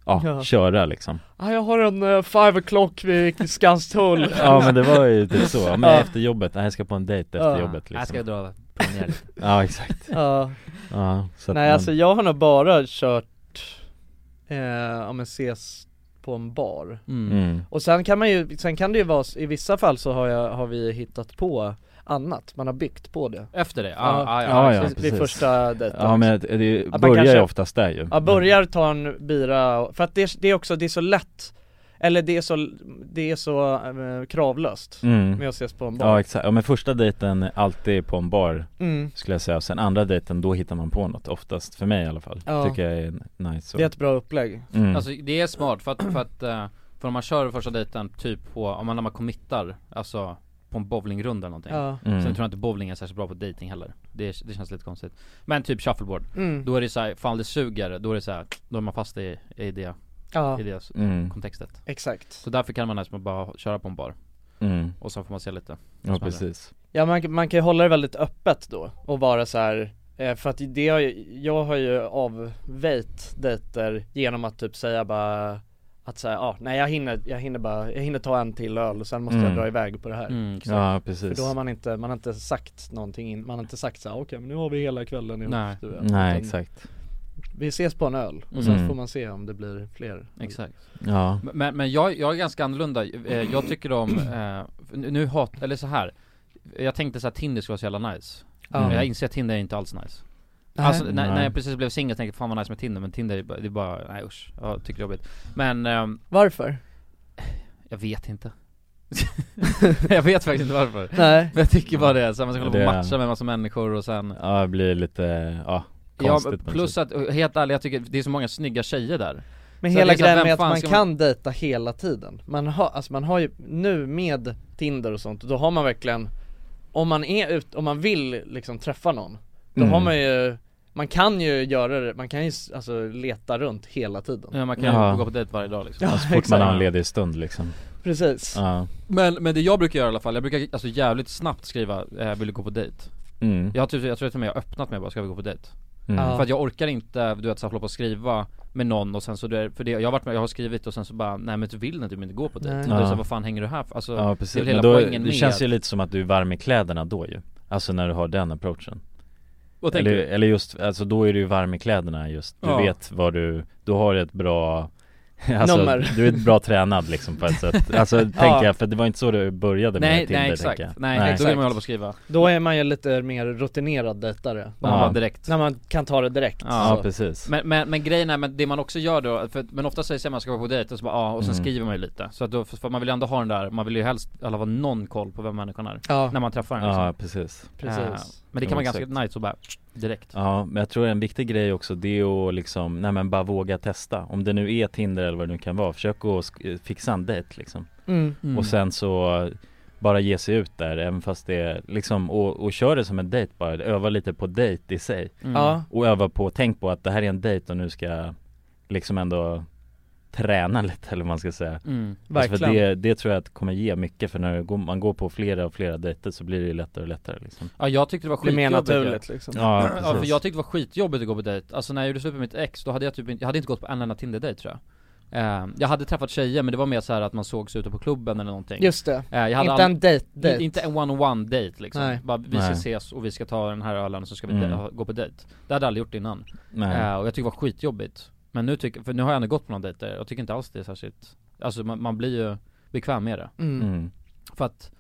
S1: ja,
S2: Ja.
S1: köra liksom
S2: Ah, jag har en eh, five o'clock vid Skanstull
S1: Ja men det var ju typ så, Ja, men
S2: Ja.
S1: efter jobbet, nej jag ska på en dejt efter
S2: Ja.
S1: jobbet
S4: Jag ska
S1: liksom
S4: dra promenera lite.
S1: Ja exakt,
S2: Ja.
S1: ja så att
S2: Nej
S1: man-
S2: alltså jag har nog bara kört, eh, om man ses på en bar
S1: mm.
S2: Och sen kan man ju, sen kan det ju vara, s- i vissa fall så har, jag, har vi hittat på annat, man har byggt på det
S4: Efter det?
S2: Ja.
S4: Ah, Ja, ja,
S1: Ja,
S4: ja.
S1: ja.
S2: Vid- Vid
S1: precis.
S2: första dejten
S1: Ja men det, det
S2: man
S1: börjar ju
S2: kanske-
S1: oftast där ju
S2: Ja, börjar ta en bira, och- för att det, det är också, det är så lätt Eller det är så, det är så eh, kravlöst
S1: mm.
S2: med att ses på en
S1: Ja
S2: bar
S1: exakt, ja men första dejten är alltid på en bar
S2: mm.
S1: skulle jag säga, sen andra dejten då hittar man på något oftast, för mig i alla fall,
S2: Ja.
S1: tycker jag är nice så.
S2: Det är ett bra upplägg
S1: mm.
S4: Alltså det är smart för att, för att, eh, för om man kör första dejten typ på, om man, när man committar, alltså på en bowlingrunda eller någonting
S2: Ja,
S1: mm.
S4: Sen tror jag inte bowling är särskilt bra på dating heller det, är- det känns lite konstigt Men typ shuffleboard,
S2: mm.
S4: då är det så här, fan det suger, då är det så här, då är man fast i, i det,
S2: ja
S4: i det
S1: Mm,
S4: kontextet
S2: exakt
S4: Så därför kan man nästan bara köra på en bar,
S1: mm,
S4: och så får man se lite
S1: ja
S4: Spännande.
S1: precis
S2: Ja man, man kan ju hålla det väldigt öppet då och vara så här eh, för att det har ju, jag har ju avväjt dejter genom att typ säga bara att säga, ja ah, nej jag hinner, jag hinner bara, jag hinner ta en till öl och sen måste
S1: Mm.
S2: jag dra iväg på det här
S4: mm, exakt.
S1: Ja
S2: För
S1: precis
S2: då har man inte, man har inte sagt någonting, in, man har inte sagt så här, okej men nu har vi hela kvällen ihop
S4: Nej.
S2: du och
S1: Nej
S2: jag."
S4: Mm.
S2: Utan
S1: exakt
S2: Vi ses på en öl och sen
S1: Mm.
S2: får man se om det blir fler
S4: Exakt
S1: Ja
S4: Men, men jag, jag är ganska annorlunda, Eh, jag tycker om, eh, nu hat, eller så här Jag tänkte så här, Tinder skulle vara så jävla nice
S2: Ja.
S4: Men
S1: Mm.
S4: jag inser att Tinder är inte alls nice
S2: Nej.
S4: Alltså när,
S1: Nej.
S4: när jag precis blev singel tänkte jag fan vad nice med Tinder, men Tinder är bara, det är bara nej usch, jag tycker det är jobbigt Men, ehm,
S2: Varför?
S4: jag vet inte Jag vet faktiskt inte varför
S2: Nej
S4: Men jag tycker bara det, så här, man ska hålla på och
S1: Det-
S4: matcha med en massa människor och sen
S1: Ja det blir lite, ja
S4: Ja,
S1: konstigt på något
S4: plus
S1: sätt.
S4: att, helt ärligt, jag tycker det är så många snygga tjejer där
S2: Men
S4: Så
S2: hela
S4: det är så här,
S2: grejen
S4: vem
S2: med att
S4: fan
S2: man
S4: ska
S2: kan
S4: man-
S2: dejta hela tiden Man har, alltså man har ju, nu med Tinder och sånt, då har man verkligen Om man är ut, om man vill liksom träffa någon Då
S1: Mm.
S2: har man ju, man kan ju göra det, man kan ju s- alltså leta runt hela tiden
S4: ja, Man kan
S1: Ja.
S4: ju gå på dejt varje dag liksom
S1: Ja, så Alltså, fort man har en ledig stund liksom
S2: Precis
S1: Ja,
S4: men, men det jag brukar göra i alla fall, jag brukar alltså jävligt snabbt skriva, eh, vill du gå på dejt?
S1: mm,
S4: Jag, har typ, jag tror att jag har öppnat mig bara, ska vi gå på dejt?
S1: mm.
S2: Ja.
S4: För att jag orkar inte, du vet så här, hålla på och skriva med någon och sen så, det, för det, jag har varit med, jag har skrivit och sen så bara, nej men du vill typ inte, du vill inte gå på dejt
S2: Nej.
S4: Och det är så
S1: Ja.
S4: här, vad fan hänger du här för? Alltså,
S1: ja
S4: det är
S1: precis,
S4: väl hela
S1: men då,
S4: poängen
S1: det
S4: med
S1: känns ju lite som att du är varm i kläderna då ju Alltså när du har den approachen
S4: Vad tänker
S1: Eller,
S4: du?
S1: eller just, alltså då är du ju varm i kläderna just Du
S4: Ja.
S1: vet vad du, du har ett bra Alltså,
S2: Nummer.
S1: du är bra tränad liksom på ett sätt Alltså tänker jag, för det var inte så du började med
S4: Nej,
S1: Tinder
S4: nej
S1: tänker jag.
S4: exakt, nej, då vill man ju hålla på och skriva
S2: Då är man ju lite mer rutinerad dejtare
S4: Bara
S1: Ja.
S4: vara direkt
S2: När man kan ta det direkt
S1: Ja
S4: Ja.
S1: precis
S4: men, men, men grejen är, men det man också gör då, för, men ofta säger man ska vara på dejt och så bara ja, och sen
S1: Mm.
S4: skriver man ju lite Så att då, för man vill ju ändå ha den där, man vill ju helst i alla fall någon koll på vem människan är
S2: Ja,
S4: När man träffar den liksom.
S1: Ja precis
S2: precis
S4: Men det kan vara ganska
S1: Exakt.
S4: nice att bara direkt
S1: Ja men jag tror en viktig grej också det är att liksom, nej men bara våga testa Om det nu är Tinder eller vad det nu kan vara, försök att sk- eh, fixa en dejt liksom
S2: mm.
S1: Och sen så bara ge sig ut där även fast det är liksom, och, och kör det som en dejt bara, öva lite på dejt i sig
S4: Mm.
S2: Ja,
S1: och öva på, tänk på att det här är en dejt och nu ska jag liksom ändå träna lite eller vad man ska säga
S4: Mm.
S1: alltså för
S2: verkligen
S1: det, det tror jag att kommer ge mycket för när du går- man går på flera och flera dejter så blir det ju lättare och lättare liksom
S4: Ja jag tyckte det var
S2: Det är mer
S4: skitjobbigt ju.
S2: naturligt liksom
S1: Ja
S4: Ja, för jag tyckte det var skitjobbigt att gå på dejt, alltså när jag gjorde slut med mitt ex, då hade jag typ inte, jag hade inte gått på en enda Tinder-dejt tror jag Eh, Jag hade träffat tjejer men det var mer så här att man sågs ute på klubben eller någonting
S2: Just det,
S4: Eh, jag hade
S2: inte
S4: ald-
S2: en dejt, dejt.
S4: i- Inte en one-on-one date liksom,
S2: Nej.
S4: bara vi ska
S1: Nej.
S4: ses och vi ska ta den här ölen och så ska vi
S1: Mm.
S4: dej- ha- gå på dejt Det hade jag aldrig gjort innan,
S1: Nej.
S4: Eh, och jag tyckte det var skitjobbigt Men nu tycker, för nu har jag ändå gått på några dejter, jag tycker inte alls det är särskilt Alltså man, man blir ju bekväm med det,
S2: Mm.
S1: Mm.
S4: för att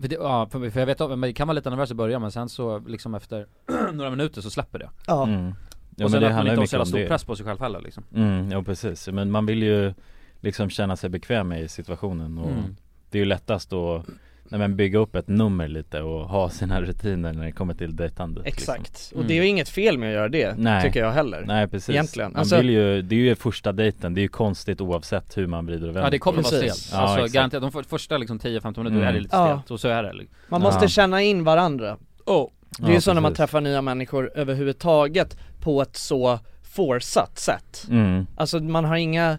S4: för, det, ja, för, för jag vet att man kan vara lite nervös i början men sen så liksom efter några minuter så släpper det
S2: Ja,
S1: Mm. Ja,
S4: och sen
S1: men det
S4: att man
S1: handlar ju
S4: inte har
S1: mycket
S4: så jävla
S1: om det
S4: stor press på sig själv heller liksom
S1: Mm, ja precis, men man vill ju liksom känna sig bekväm i situationen och
S4: Mm.
S1: det är ju lättast att nej, men bygga upp ett nummer lite och ha sina rutiner när det kommer till dejtandet liksom.
S2: exakt Och det är ju inget fel med att göra det,
S1: Nej.
S2: tycker jag heller
S1: Nej precis,
S2: Egentligen.
S1: man
S2: Alltså-
S1: vill ju, det är ju första dejten, det är ju konstigt oavsett hur man vrider och vänder
S4: Ja det kommer
S1: på
S4: vara
S2: Precis.
S4: stelt,
S1: Ja,
S4: alltså
S1: exakt.
S4: garanterat, de för, första liksom 10-15 minuterna
S1: Mm.
S4: är det lite
S2: Ja.
S4: stelt, och så är det liksom.
S2: Man måste
S1: Ja.
S2: känna in varandra
S4: oh.
S2: Det är ju
S1: Ja,
S2: så när man
S1: precis.
S2: träffar nya människor överhuvudtaget på ett så forsatt sätt
S1: Mm,
S2: Alltså man har inga,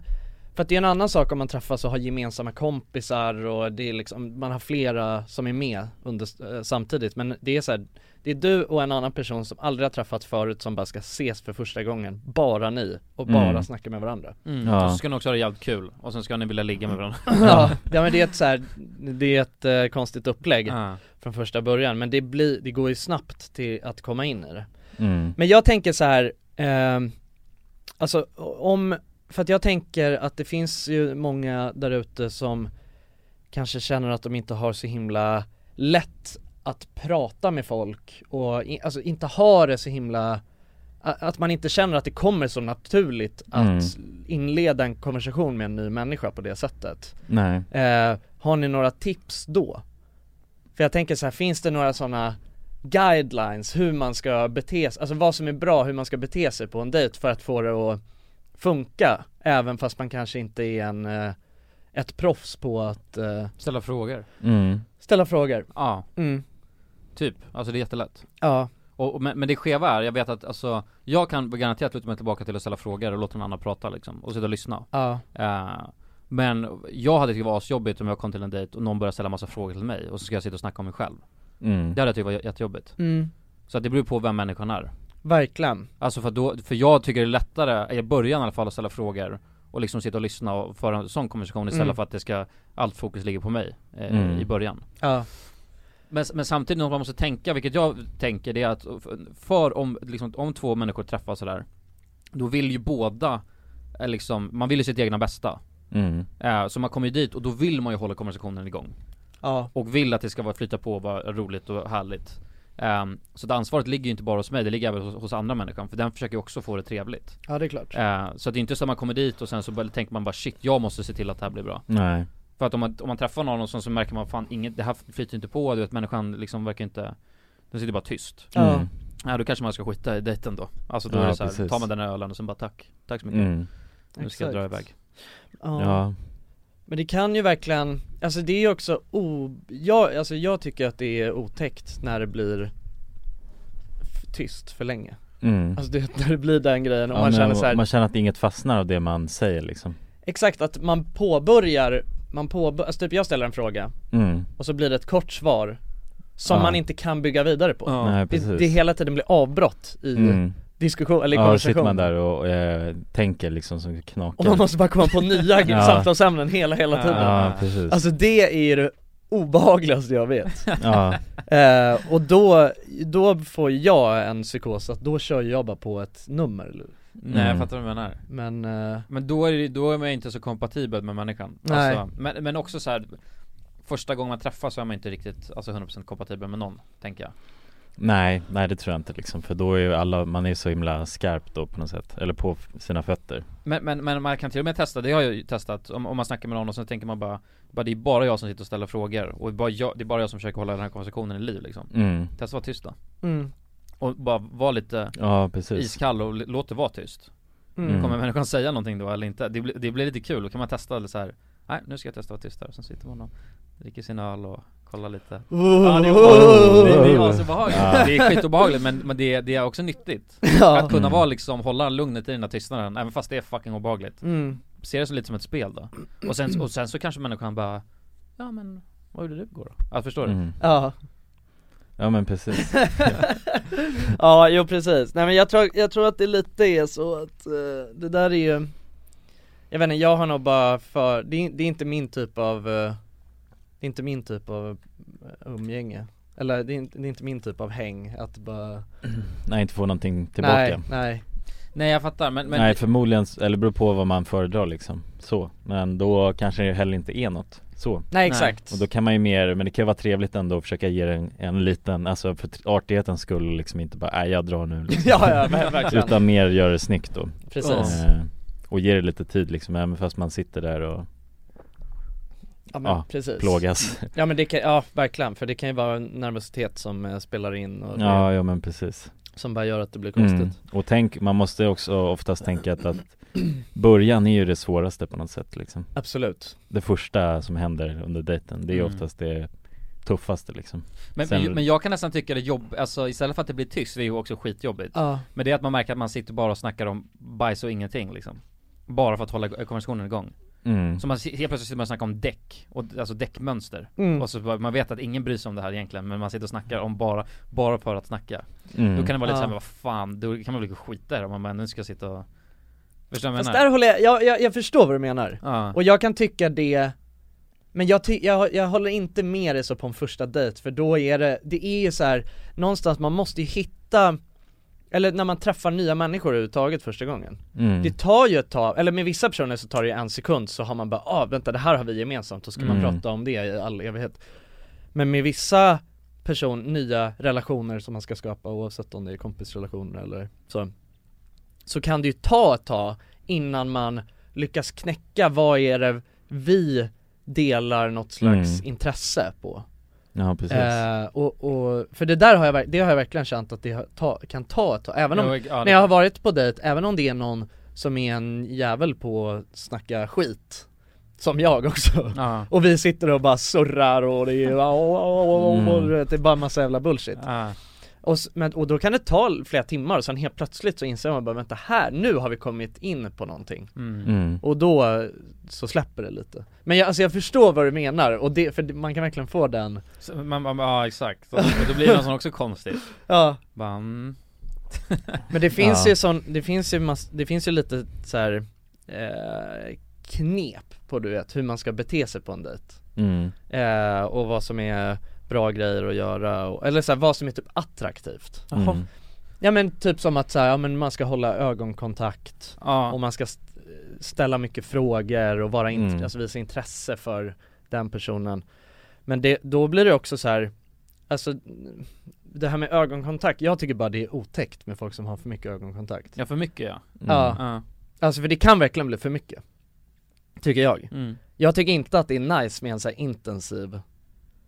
S2: för att det är en annan sak om man träffas och har gemensamma kompisar och det är liksom, man har flera som är med under, eh, samtidigt men det är så här, det är du och en annan person som aldrig har träffats förut som bara ska ses för första gången, bara ni och bara
S1: Mm.
S2: snacka med varandra
S4: mm.
S1: Ja. Mm.
S4: Och så ska ni också ha det jävligt kul, och sen ska ni vilja ligga med varandra
S2: Ja, ja men det är ett så här, det är ett eh, konstigt upplägg
S4: Ja.
S2: från första början men det blir, det går ju snabbt till att komma in i det
S1: mm,
S2: Men jag tänker så här, ehm, alltså om, för att jag tänker att det finns ju många där ute som kanske känner att de inte har så himla lätt att prata med folk och i, alltså inte har det så himla a- att man inte känner att det kommer så naturligt att inleda en konversation med en ny människa på det sättet.
S1: nej
S2: Eh, har ni några tips då? För jag tänker så här, finns det några sådana guidelines hur man ska bete sig, alltså vad som är bra hur man ska bete sig på en dejt för att få det att funka? Även fast man kanske inte är en, eh, ett proffs på att eh,
S4: Ställa frågor
S1: mm,
S2: ställa frågor.
S4: Ja,
S2: Mm.
S4: typ, alltså det är jättelätt
S2: Ja,
S4: och, och, men, men det skeva är, jag vet att alltså, jag kan garanterat luta mig tillbaka till att ställa frågor och låta någon annan prata liksom, och sitta och lyssna
S2: ja,
S4: Eh, Men jag hade tyckt det var asjobbigt om jag kom till en dejt och någon började ställa massa frågor till mig och så ska jag sitta och snacka om mig själv
S1: mm,
S4: Det hade jag tyckt var jä- jättejobbigt
S2: mm.
S4: Så att det beror på vem människan är
S2: verkligen.
S4: Alltså för att då, för jag tycker det är lättare, i början i alla fall, att ställa frågor och liksom sitta och lyssna och föra en sån konversation istället
S2: Mm.
S4: för att det ska, allt fokus ligger på mig eh,
S1: Mm.
S4: i början
S2: Ja,
S4: men, men samtidigt något man måste tänka, vilket jag tänker, det är att för om, liksom, om två människor träffas sådär Då vill ju båda, eh, liksom, man vill ju sitt egna bästa
S1: mm,
S4: eh, Så man kommer ju dit och då vill man ju hålla konversationen igång
S2: ja,
S4: och vill att det ska vara flyta på och vara roligt och härligt Ehm, Så att ansvaret ligger ju inte bara hos mig, det ligger även hos, hos andra människan för den försöker ju också få det trevligt
S2: ja det är klart.
S4: Eh, Så att det är inte så att man kommer dit och sen så bara, tänker man bara shit, jag måste se till att det här blir bra
S1: nej
S4: För att om man, om man träffar någon och sen så märker man fan inget, det här flyter inte på, du vet människan liksom verkar inte Den sitter bara tyst
S2: Ja.
S1: mm,
S4: Ja då kanske man ska skita i dejten då Alltså då
S1: Ja,
S4: är det så här,
S1: precis.
S4: tar man den här ölen och sen bara tack, tack så mycket
S1: mm,
S4: Nu ska jag dra
S2: Exakt.
S4: iväg
S2: Ja.
S1: ja,
S2: Men det kan ju verkligen, alltså det är ju också o, jag, alltså jag tycker att det är otäckt när det blir f- tyst för länge
S1: mm
S2: Alltså det, när det blir den grejen och
S1: Ja,
S2: man
S1: men
S2: känner så här,
S1: man känner att inget fastnar av det man säger liksom
S2: exakt att man påbörjar, man påbörjar, alltså typ jag ställer en fråga
S1: mm,
S2: och så blir det ett kort svar som
S1: Ja.
S2: man inte kan bygga vidare på
S4: Ja.
S1: nej
S2: det,
S1: precis
S2: det hela tiden blir avbrott i
S1: mm.
S2: diskussion eller i
S1: Ja, då
S2: konversation
S1: sitter man där och eh, tänker liksom som knakar
S2: Och man måste bara komma på nya
S1: Ja.
S2: samtalsämnen hela hela tiden
S1: Ja precis
S2: Alltså det är ju det obehagligaste jag vet
S1: Ja,
S2: eh, Och då, då får jag en psykos att då kör jag bara på ett nummer
S4: Nej
S1: Mm.
S4: jag fattar vad du menar
S2: Men, eh,
S4: Men då är, det- då är man ju inte så kompatibel med människan
S2: Nej.
S4: Alltså, men, men också så här. Första gången man träffas så är man inte riktigt, alltså 100% kompatibel med någon, tänker jag
S1: nej, nej det tror jag inte liksom För då är ju alla, man är ju så himla skarp då på något sätt Eller på f- sina fötter
S4: men, men, men man kan till och med testa, det har jag ju testat, om, om man snackar med någon och så tänker man bara, bara Det är bara jag som sitter och ställer frågor och bara jag, det är bara jag som försöker hålla den här konversationen i liv liksom
S1: mm.
S4: Testa att vara tyst då
S2: mm,
S4: Och bara vara lite
S1: Ja precis
S4: iskall och l- låt det vara tyst
S2: mm.
S1: Mm.
S4: Kommer människan säga någonting då eller inte? Det, blir- det blir lite kul, då kan man testa eller så här. Nej nu ska jag testa att vara tyst här, sen sitter man och dricker sin öl och kollar lite Ja, det är obehagligt. Det- det är asbehagligt. Det är skitobehagligt men, men det, är- det är också nyttigt Att kunna
S1: Mm.
S4: vara liksom, hålla lugnet i den där tystnaden även fast det är fucking obehagligt
S2: Mm.
S4: Se det som lite som ett spel då Och sen, och sen så kanske människan bara Ja men vad gjorde du igår då? Ja förstår du?
S1: Mm.
S2: Ja
S1: Ja men precis
S2: Ja, jo precis. Nej men jag tror, jag tror att det lite är så att eh, det där är ju Jag vet inte, jag har nog bara för, det, är- det är inte min typ av eh, Det är inte min typ av eh, umgänge Eller det är, inte, det är inte min typ av häng, att bara
S1: Nej inte få någonting tillbaka
S2: Nej, nej
S4: Nej jag fattar men, men
S1: Nej förmodligen, s- eller beror på vad man föredrar liksom Så, men då kanske det heller inte är något så
S2: Nej exakt
S1: Och då kan man ju mer, men det kan ju vara trevligt ändå att försöka ge en, en liten, alltså för t- artighetens skull liksom inte bara, nej jag drar nu liksom.
S2: Ja ja, ver- verkligen,
S1: Utan mer göra det snyggt då
S2: precis
S1: eh, Och ge det lite tid liksom, även fast man sitter där och
S2: Ja men
S1: ja,
S2: precis
S1: plågas
S2: Ja men det kan, ja verkligen, för det kan ju vara nervositet som eh, spelar in och det,
S1: Ja, ja men precis
S2: som bara gör att det blir konstigt
S1: mm. Och tänk, man måste också oftast tänka att, att början är ju det svåraste på något sätt liksom
S2: Absolut
S1: Det första som händer under dejten, det är ju
S4: Mm.
S1: oftast det tuffaste liksom
S4: Men,
S1: Sen-
S4: men jag kan nästan tycka det är jobb, alltså istället för att det blir tyst, det är ju också skitjobbigt
S2: Ja,
S4: Men det är att man märker att man sitter bara och snackar om bajs och ingenting liksom Bara för att hålla eh, konversationen igång
S1: mm.
S4: Så man, helt plötsligt sitter man och snackar om däck, och, alltså däckmönster
S2: mm.
S4: Och så bara, man vet att ingen bryr sig om det här egentligen men man sitter och snackar om bara, bara för att snacka
S1: Mm.
S4: Då kan det vara lite
S2: Ja.
S4: såhär, men vad fan, då kan man väl skita i det om man bara, nu ska jag sitta och Förstår du vad jag
S2: Fast
S4: menar?
S2: där håller jag, jag, jag, jag förstår vad du menar
S4: Ja,
S2: Och jag kan tycka det men jag, ty- jag, jag håller inte med dig så på en första dejt för då är det, det är ju så här någonstans man måste ju hitta Eller när man träffar nya människor överhuvudtaget första gången
S1: mm.
S2: Det tar ju ett tag, eller med vissa personer så tar det ju en sekund så har man bara ah vänta det här har vi gemensamt, då ska man
S1: Mm.
S2: prata om det i all evighet Men med vissa person, nya relationer som man ska skapa oavsett om det är kompisrelationer eller så Så kan det ju ta ett tag innan man lyckas knäcka vad är det vi delar något slags
S1: Mm.
S2: intresse på
S1: Ja precis
S2: eh, och, och, för det där har jag, verk- det har jag verkligen känt att det har ta, kan ta ett tag, även om
S4: Jo, ja,
S2: när jag har varit på dejt, även om det är någon som är en jävel på att snacka skit Som jag också
S4: ja,
S2: Och vi sitter och bara surrar och det är
S1: Mm.
S2: det är bara massa jävla bullshit
S4: ja,
S2: och, s- men, och då kan det ta flera timmar och sen helt plötsligt så inser man bara vänta här, nu har vi kommit in på någonting
S4: mm.
S1: mm.
S2: Och då eh, så släpper det lite Men jag, alltså jag förstår vad du menar och det, för det- man kan verkligen få den
S4: Så, man, man, ja exakt, så, men då blir det något som också är konstigt
S2: Ja
S4: Bara, mm.
S2: Men det finns
S1: Ja.
S2: ju sån, det finns ju mass, det finns ju lite så här eh, knep på du vet hur man ska bete sig på en dejt
S1: Mm.
S2: eh, och vad som är bra grejer att göra och, eller så här, vad som är typ attraktivt
S1: Mm.
S2: Ja men typ som att så här, ja men man ska hålla ögonkontakt och
S4: ja,
S2: man ska st- ställa mycket frågor och vara int-
S1: Mm.
S2: alltså visa intresse för den personen Men det, då blir det också så här, alltså det här med ögonkontakt, jag tycker bara det är otäckt med folk som har för mycket ögonkontakt
S4: ja för mycket ja,
S1: Mm.
S2: Ja.
S4: ja.
S2: Alltså för det kan verkligen bli för mycket Tycker jag
S4: Mm.
S2: Jag tycker inte att det är nice med en så här intensiv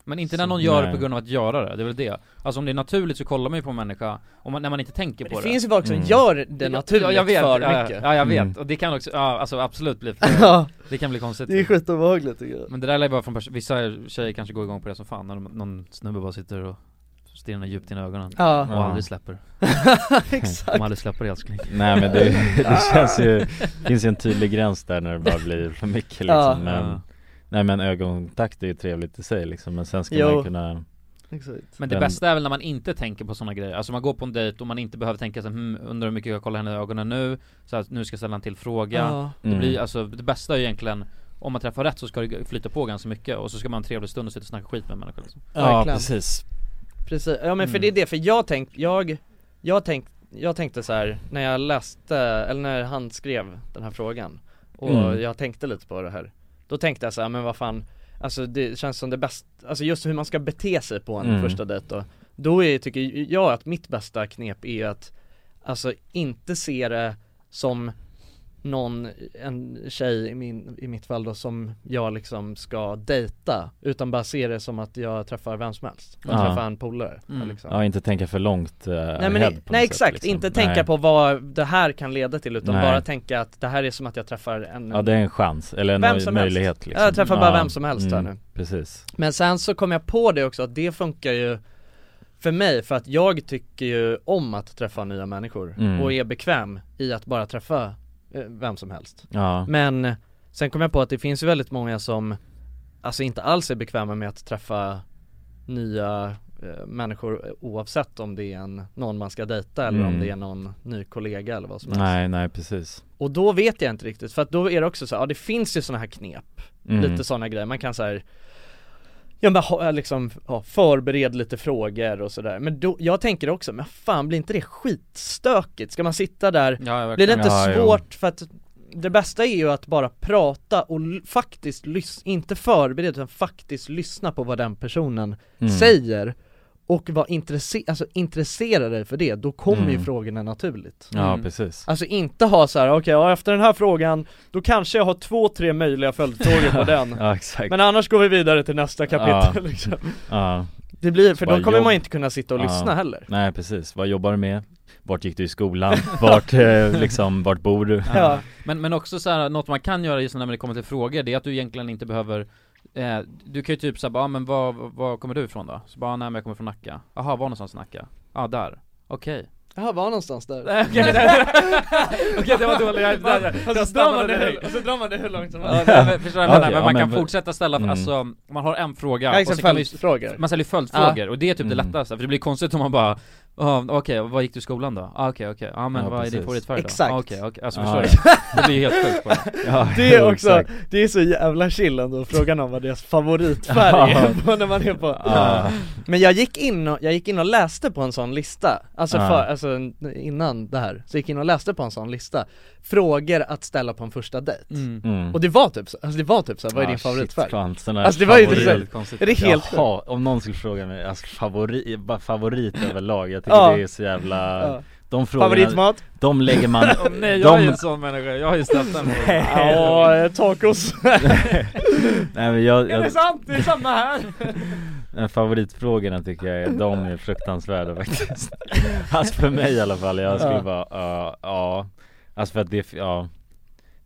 S4: Men inte
S1: Så-
S4: när någon gör det
S1: Nej.
S4: på grund av att göra det, det är väl det Alltså om det är naturligt så kollar man ju på en människa, om man, när man inte tänker
S2: Men
S4: på
S2: det
S4: det
S2: finns ju folk som
S1: Mm.
S2: gör det naturligt
S4: ja, jag vet,
S2: för
S4: ja,
S2: mycket
S4: Ja, jag vet,
S1: Mm.
S4: och det kan också, ja, alltså absolut bli
S2: Ja,
S4: Det kan bli konstigt
S2: skitobehagligt tycker jag
S4: Men det där är bara från pers- vissa tjejer kanske går igång på det som fan när de, någon snubbe bara sitter och stirrar djupt in i ögonen
S2: Ja,
S1: Ja.
S4: och aldrig släpper,
S2: exakt
S4: de aldrig släpper det älskling
S1: Nej men det, det känns ju, det finns ju en tydlig gräns där när det bara blir för mycket liksom
S2: Ja.
S1: men,
S4: Ja.
S1: Nej men ögonkontakt är ju trevligt i sig liksom men sen ska
S2: Jo.
S1: man ju kunna
S2: Exakt
S4: Men det
S1: Den-
S4: bästa är väl när man inte tänker på sådana grejer, alltså man går på en dejt och man inte behöver tänka så här, hmm, undrar hur mycket jag kollar henne i ögonen nu, så här, nu ska jag ställa en till fråga
S2: Ja,
S4: Det
S1: Mm.
S4: blir, alltså det bästa är ju egentligen Om man träffar rätt så ska det flyta på ganska mycket och så ska man ha en trevlig stund och sitta och snacka skit med människor liksom.
S1: Ja
S2: Verkligen.
S1: precis
S2: Precis, ja men för
S4: Mm.
S2: det är det, för jag tänk, jag, jag tänk, jag tänkte så här när jag läste, eller när han skrev den här frågan och
S1: Mm.
S2: jag tänkte lite på det här Då tänkte jag så här, men vad fan, alltså det känns som det bästa, alltså just hur man ska bete sig på en
S1: Mm.
S2: första dejt då Då är, tycker jag att mitt bästa knep är ju att, alltså inte se det som någon, en tjej i, min, i mitt fall då som jag liksom ska dejta Utan bara se det som att jag träffar vem som helst, jag
S1: Ja.
S2: träffar en polare
S4: Mm.
S2: liksom.
S1: Ja inte tänka för långt eh,
S2: Nej men
S1: ahead
S2: i-
S1: på något
S2: nej
S1: sätt,
S2: exakt,
S1: liksom.
S2: inte
S1: Nej.
S2: tänka på vad det här kan leda till utan
S1: Nej.
S2: bara tänka att det här är som att jag träffar en
S1: Ja det är en chans, eller en
S2: Vem
S1: möj-
S2: som helst.
S1: möjlighet liksom Mm,
S2: Jag träffar bara vem som helst här nu.
S1: Precis
S2: Men sen så kom jag på det också att det funkar ju för mig för att jag tycker ju om att träffa nya människor
S1: Mm.
S2: och är bekväm i att bara träffa eh, vem som helst
S1: Ja,
S2: Men sen kom jag på att det finns ju väldigt många som Alltså inte alls är bekväma med att träffa nya eh, människor eh, oavsett om det är en, någon man ska dejta eller om
S1: Mm.
S2: det är någon ny kollega eller vad som helst
S1: nej nej precis
S2: Och då vet jag inte riktigt för att då är det också så här, ja det finns ju sådana här knep
S1: Mm.
S2: Lite sådana grejer, man kan så här Ja men ha, liksom, ja, förbered lite frågor och sådär Men då, jag tänker också, men fan blir inte det skitstökigt? Ska man sitta där
S4: Ja, jag
S2: blir det inte
S1: Ja, jo.
S2: svårt för att det bästa är ju att bara prata och l- faktiskt lyssna, inte förbereda utan faktiskt lyssna på vad den personen
S1: Mm.
S2: säger och vara intresse- alltså, intressera dig för det, då kommer ju
S1: Mm.
S2: frågorna naturligt
S1: Ja
S4: Mm.
S1: precis
S2: Alltså inte ha så här, okej ja, efter den här frågan, då kanske jag har två, tre möjliga följdfrågor på den
S1: Ja exakt,
S2: Men annars går vi vidare till nästa kapitel liksom.
S1: ja
S2: Det blir, för
S1: Bara
S2: då kommer
S1: jobb.
S2: man inte kunna sitta och
S1: Ja.
S2: lyssna heller
S1: Nej precis, vad jobbar du med? Vart gick du i skolan? Vart, eh, liksom, vart bor du?
S2: Ja,
S4: Men, men också så här, något man kan göra just när det kommer till frågor, det är att du egentligen inte behöver eh, Du kan ju typ såhär, ah, men var, var kommer du ifrån då? Så bara, "Ah, nej men jag kommer från Nacka Jaha, var någonstans i Nacka? Ja, ah, där Okej
S2: jag var någonstans där
S4: Nej, Okej, Okej, det var dåligt, jag, jag, jag,
S2: Och så
S4: jag
S2: drar man
S4: stannade
S2: det
S4: dig
S2: hur- och så drar man det hur långt som
S4: Ja,
S2: helst
S4: nej, men Förstår du vad jag menar?
S1: Okej,
S4: Men
S1: ja,
S4: man
S1: men
S4: kan
S1: v-
S4: fortsätta ställa,
S1: Mm.
S4: alltså man har en fråga
S2: Ja,
S4: och
S2: exakt,
S4: sen kan man, ju-
S2: följdfrågor
S4: man ställer ju följdfrågor och det är typ det
S1: Mm.
S4: lättaste, för det blir konstigt om man bara ah, okej, var gick du i skolan då? Ah, okej, okej, ja ah, men
S1: Ja,
S4: vad är din
S1: precis.
S4: favoritfärg då?
S2: Exakt.
S4: Ah, okej, okej, alltså
S1: Ja.
S4: förstår du? Det blir ju helt sjukt bara Mm.
S1: Ja,
S2: Det är också,
S1: exakt.
S2: det är så jävla chill ändå frågan om vad deras favoritfärg är på när man är på
S1: Ja,
S2: Men jag gick in och, jag gick in och läste på en sån lista, alltså,
S1: Ja.
S2: för, alltså n- innan det här, så jag gick in och läste på en sån lista Frågor att ställa på en första dejt
S4: mm.
S1: mm.
S2: Och det var typ så, alltså det var typ så här, vad är
S1: Ah,
S2: din
S1: shit,
S2: favoritfärg?
S1: fan, sån här
S2: Alltså, det var ju
S1: favorit-
S2: det- väldigt
S4: konstigt
S2: Är det helt sjukt?
S1: Jaha, om någon skulle fråga mig, alltså favorit, bara favorit överlag, jag tycker
S2: Ja.
S1: det är så jävla
S2: Ja.
S1: De frågorna,
S2: Favoritmat?
S1: de lägger man
S4: Nej jag är ju
S1: de,
S4: en sån människa, jag har ju ställt den frågan
S2: Ja, eh, tacos
S1: Nej men jag,
S2: Är det
S1: jag,
S2: sant? Det är samma här!
S1: eh, favoritfrågorna tycker jag är, de är fruktansvärda faktiskt Alltså för mig i alla fall, jag skulle
S2: Ja.
S1: bara, ja, ja Alltså för att det, ja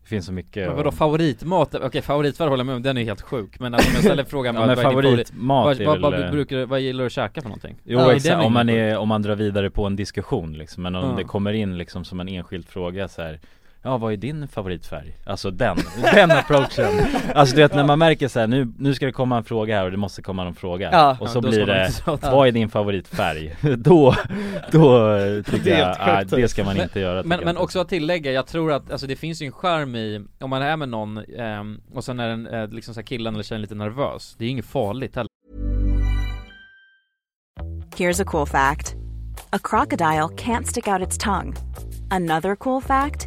S1: Det finns så mycket
S4: Men
S1: och-
S4: vadå favoritmat? Okej favoritfärg håller jag med om, den är ju helt sjuk Men alltså, om jag ställer frågan
S1: Ja men favoritmat
S4: vad,
S1: är
S4: vad,
S1: väl
S4: vad,
S1: eh,
S4: brukar, du- vad gillar du att käka för någonting?
S1: Jo
S2: Ja, i
S1: exakt,
S4: den
S1: om man,
S4: meningen.
S1: är, om man drar vidare på en diskussion liksom, men om
S4: Ja.
S1: det kommer in liksom som en enskild fråga så här. Ja vad är din favoritfärg? Alltså den, den approachen! Alltså du vet när man märker så här, nu, nu ska det komma en fråga här och det måste komma någon fråga
S2: Ja.
S1: Och så
S4: Ja, då
S1: blir
S4: ska man
S1: det,
S4: inte prata.
S1: vad är din favoritfärg? då, då eh, tycker
S2: Det är
S1: jag,
S2: helt
S1: nej
S2: sjukt.
S1: det ska man inte göra tycker
S4: Men,
S1: jag
S4: men
S1: inte.
S4: också att tillägga, jag tror att alltså, det finns ju en charm i, om man är med någon ehm, och sen är den, eh, liksom så här, killen eller tjejen lite nervös, det är ju inget farligt heller
S5: Here's a cool fact a crocodile can't stick out its tongue. Another cool fact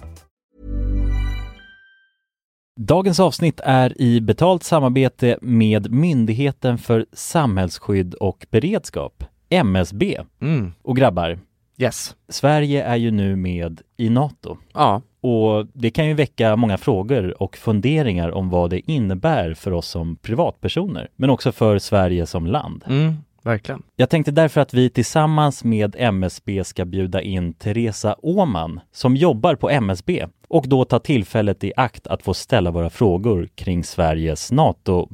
S1: Dagens avsnitt är i betalt samarbete med Myndigheten för samhällsskydd och beredskap, MSB.
S3: Mm.
S1: Och grabbar,
S3: Yes.
S1: Sverige är ju nu med i NATO.
S3: Ja.
S1: Och det kan ju väcka många frågor och funderingar om vad det innebär för oss som privatpersoner, men också för Sverige som land.
S3: Mm, verkligen.
S1: Jag tänkte därför att vi tillsammans med MSB ska bjuda in Teresa Åman som jobbar på MSB och då ta tillfället i akt att få ställa våra frågor kring Sveriges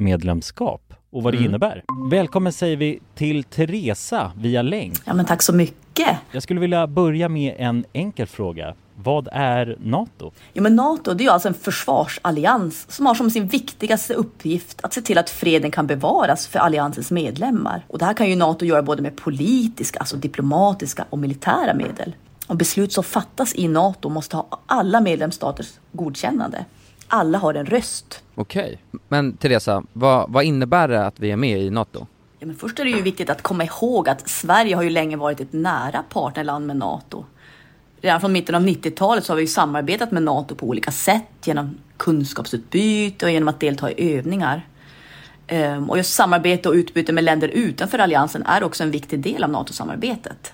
S1: NATO-medlemskap och vad det
S6: Mm.
S1: innebär. Välkommen säger vi till Teresa via länk.
S6: Ja, men tack så mycket.
S1: Jag skulle vilja börja med en enkel fråga. Vad är NATO?
S6: Jo, men Nato det är ju alltså en försvarsallians som har som sin viktigaste uppgift att se till att freden kan bevaras för alliansens medlemmar. Och det här kan ju Nato göra både med politiska, alltså diplomatiska och militära medel. Och beslut som fattas i Nato måste ha alla medlemsstaters godkännande. Alla har en röst.
S7: Okej. Men Teresa, vad, vad innebär det att vi är med i NATO?
S6: Ja, men först är det ju viktigt att komma ihåg att Sverige har ju länge varit ett nära partnerland med Nato. Redan från mitten av 90-talet så har vi ju samarbetat med Nato på olika sätt genom kunskapsutbyte och genom att delta i övningar. Ehm, Och just samarbete och utbyte med länder utanför alliansen är också en viktig del av NATO-samarbetet.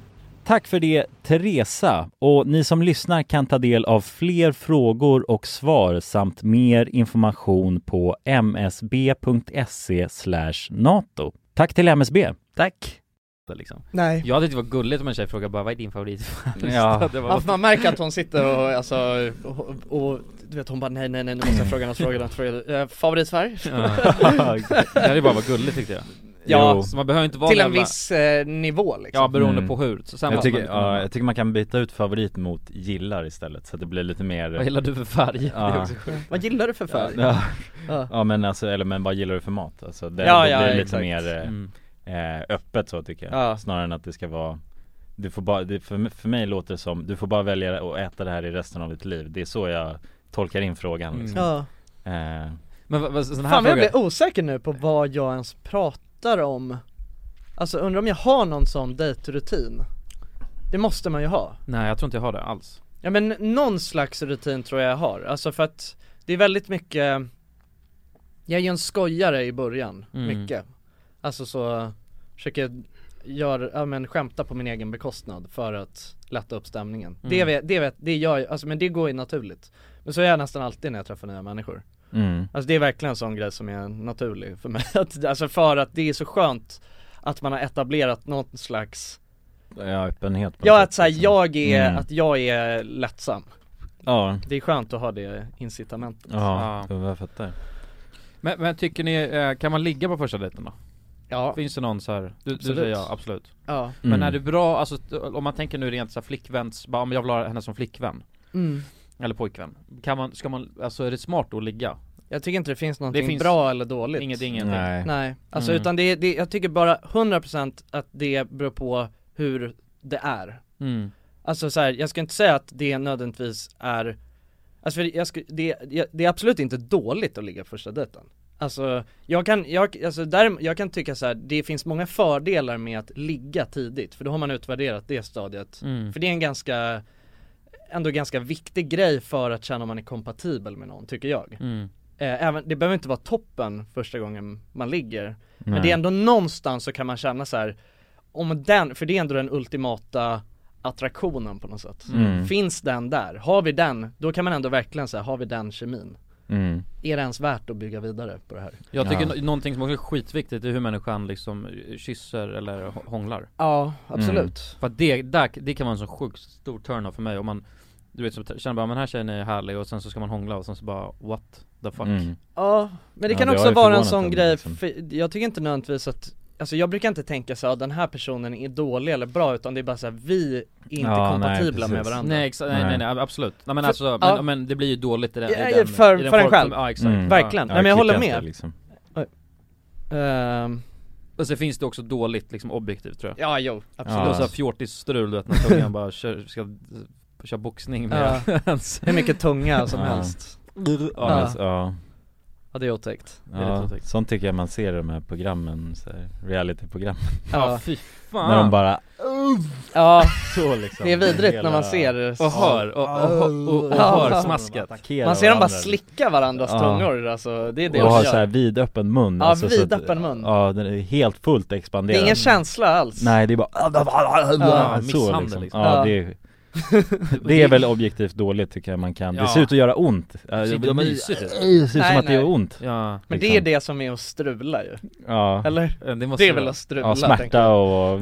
S1: Tack för det Teresa och ni som lyssnar kan ta del av fler frågor och svar samt mer information på msb.se E nato. Tack till MSB.
S4: Tack. Liksom.
S2: Nej.
S4: Jag tyckte det var gulligt om en tjej frågade bara vad är din favorit?
S1: Ja.
S4: Det var-
S2: Ja, för Alltså, man märker att hon sitter och alltså, och, och du vet hon bara nej nej nej nu måste jag fråga något, fråga något, fråga något. Eh, Favoritfärg?
S4: Ja. Det hade ju bara varit gulligt tyckte jag
S2: Ja,
S4: Så man behöver inte vara
S2: till en
S4: jävla-
S2: viss eh, nivå liksom
S4: Ja beroende
S1: Mm.
S4: på hur, så sen
S1: jag,
S4: måste
S1: tycker,
S4: man,
S1: ja, jag tycker man kan byta ut favorit mot gillar istället så att det blir lite mer
S4: Vad gillar du för färg? Det är
S1: Ja.
S4: också sjukt.
S2: Vad gillar du för färg?
S1: Ja,
S2: Ja.
S1: ja. men alltså, eller men vad gillar du för mat? Alltså, det,
S2: Ja,
S1: det
S2: ja,
S1: blir lite
S2: exakt.
S1: mer eh,
S2: Mm.
S1: eh, öppet så tycker jag
S2: Ja.
S1: Snarare än att det ska vara du får bara, det, för, för mig låter det som, du får bara välja att äta det här i resten av ditt liv Det är så jag tolkar in frågan
S4: Mm.
S1: liksom.
S2: Ja.
S1: eh,
S4: Men vad, vad, sån här
S2: Fan vad jag
S4: fråga
S2: blir osäker nu på vad jag ens pratar om Alltså undrar om jag har någon sån dejtrutin? Det måste man ju ha
S4: Nej jag tror inte jag har det alls
S2: Ja men någon slags rutin tror jag jag har, alltså för att det är väldigt mycket Jag är ju en skojare i början,
S4: Mm.
S2: mycket Alltså så, försöker gör, ja, men skämta på min egen bekostnad för att lätta upp stämningen Det
S4: Mm.
S2: vet, det vet, det gör jag, alltså men det går ju naturligt Men så är jag nästan alltid när jag träffar nya människor
S1: Mm.
S2: Alltså det är verkligen en sån grej som är naturlig för mig, att, alltså för att det är så skönt att man har etablerat någon slags
S1: ja, öppenhet på
S2: Ja
S1: något
S2: att såhär,
S1: liksom.
S2: jag är,
S1: Mm.
S2: att jag är lättsam
S1: Ja,
S2: det är skönt att ha det incitamentet
S1: ja, Mm. jag fattar
S4: Men, men tycker ni, eh, kan man ligga på första dejten då?
S2: Ja
S4: Finns det någon så här, du, du
S2: Absolut.
S4: säger ja, absolut
S2: Ja.
S4: Men
S1: Mm.
S4: är det bra, alltså t- om man tänker nu rent såhär flickväns, bara om jag vill ha henne som flickvän
S2: Mm.
S4: Eller pojkvän, kan man, ska man, alltså är det smart att ligga?
S2: Jag tycker inte det finns någonting
S4: finns-
S2: bra eller dåligt
S4: Inget, ingenting
S1: Nej.
S2: Nej, alltså
S4: Mm.
S2: utan det, det, jag tycker bara 100% att det beror på hur det är
S4: Mm.
S2: Alltså så här, jag ska inte säga att det nödvändigtvis är Alltså för jag sku, det, jag, det är absolut inte dåligt att ligga första dejten Alltså, jag kan, jag, alltså där, jag kan tycka så här, det finns många fördelar med att ligga tidigt För då har man utvärderat det stadiet
S4: Mm.
S2: För det är en ganska, ändå ganska viktig grej för att känna om man är kompatibel med någon, tycker jag
S4: Mm.
S2: eh, även, det behöver inte vara toppen första gången man ligger Men
S1: Nej.
S2: det är ändå någonstans så kan man känna så här om den, för det är ändå den ultimata attraktionen på något sätt
S1: Mm.
S2: Finns den där? Har vi den? Då kan man ändå verkligen säga, har vi den kemin?
S1: Mm.
S2: Är det ens värt att bygga vidare på det här?
S4: Jag tycker
S2: ja.
S4: nå- någonting som också är skitviktigt är hur människan liksom eh, kysser eller hå- hånglar
S2: Ja, absolut.
S1: Mm.
S4: För att det, där, det kan vara en så sjukt stor turn-off för mig om man Du vet, så t- känner bara men den här tjejen är härlig och sen så ska man hångla och sen så bara what the fuck
S1: Mm.
S2: Ja, men det
S4: Ja,
S2: kan
S4: det har
S2: också
S4: ju
S2: vara en
S4: förvånat
S2: sån
S4: dem,
S2: grej,
S4: liksom.
S2: för jag tycker inte nödvändigtvis att Alltså jag brukar inte tänka så att den här personen är dålig eller bra utan det är bara så här, vi är inte
S4: Ja, nej,
S2: kompatibla med
S4: precis.
S2: varandra
S4: Nej, exa- nej, nej, nej, absolut. Nej, men alltså, men- men det blir ju dåligt i den- i
S2: Ja,
S4: den-
S2: För,
S4: i den
S2: för en
S4: folk-
S2: själv,
S4: ja, exakt. Mm.
S2: verkligen,
S4: Ja,
S2: nej men
S4: jag
S2: jag håller
S4: klickar
S2: med
S4: inte, liksom.
S2: Oj. Ehm,
S4: Och så finns det också dåligt liksom objektivt tror jag
S2: Ja, jo, absolut.
S4: Och så här fjortisstrul du vet när tungan bara kör, ska eh, köra boxning med
S2: Ja.
S4: ens
S2: Hur mycket tunga som
S1: Ja.
S2: helst
S1: Ja, alltså. men s- ja.
S2: Ja, det är otäckt
S4: är lite
S1: Ja,
S4: otäckt.
S1: sånt tycker jag man ser i de här programmen, så här, realityprogrammen
S2: Ja,
S4: fy fan.
S1: När de bara
S2: Ja,
S1: så liksom
S2: det är vidrigt
S1: Hela-
S2: när man ser
S4: Och hör, och, och, och, och hör smasket
S2: Man ser dem bara
S1: varandra.
S2: slicka varandras
S1: Ja.
S2: tungor alltså, det är det
S1: Och
S2: de
S1: har
S2: gör.
S1: såhär vidöppen mun
S2: Ja,
S1: alltså, så att-
S2: vidöppen mun.
S1: Ja, den är helt fullt
S2: Det
S1: expanderad
S2: är ingen känsla alls
S1: Nej det är bara
S2: Ja,
S1: så
S2: misshandel,
S1: liksom.
S2: liksom.
S1: Ja
S2: Ja.
S1: det är, det är väl objektivt dåligt tycker jag man kan, det
S2: Ja.
S1: ser ut att göra ont Ja,
S2: Det ser inte
S1: de-
S2: mysigt
S1: det
S2: ut.
S1: ser ut som
S2: Nej,
S1: att det gör
S2: nej.
S1: ont
S2: Men det är
S1: Liksom.
S2: det som är att strula ju
S1: Ja.
S2: Eller?
S4: Ja, Eh, det
S2: Det,
S4: måste
S2: är
S4: det
S2: väl
S4: vara.
S2: att strula
S1: Ja,
S2: tänker
S1: smärta
S2: jag.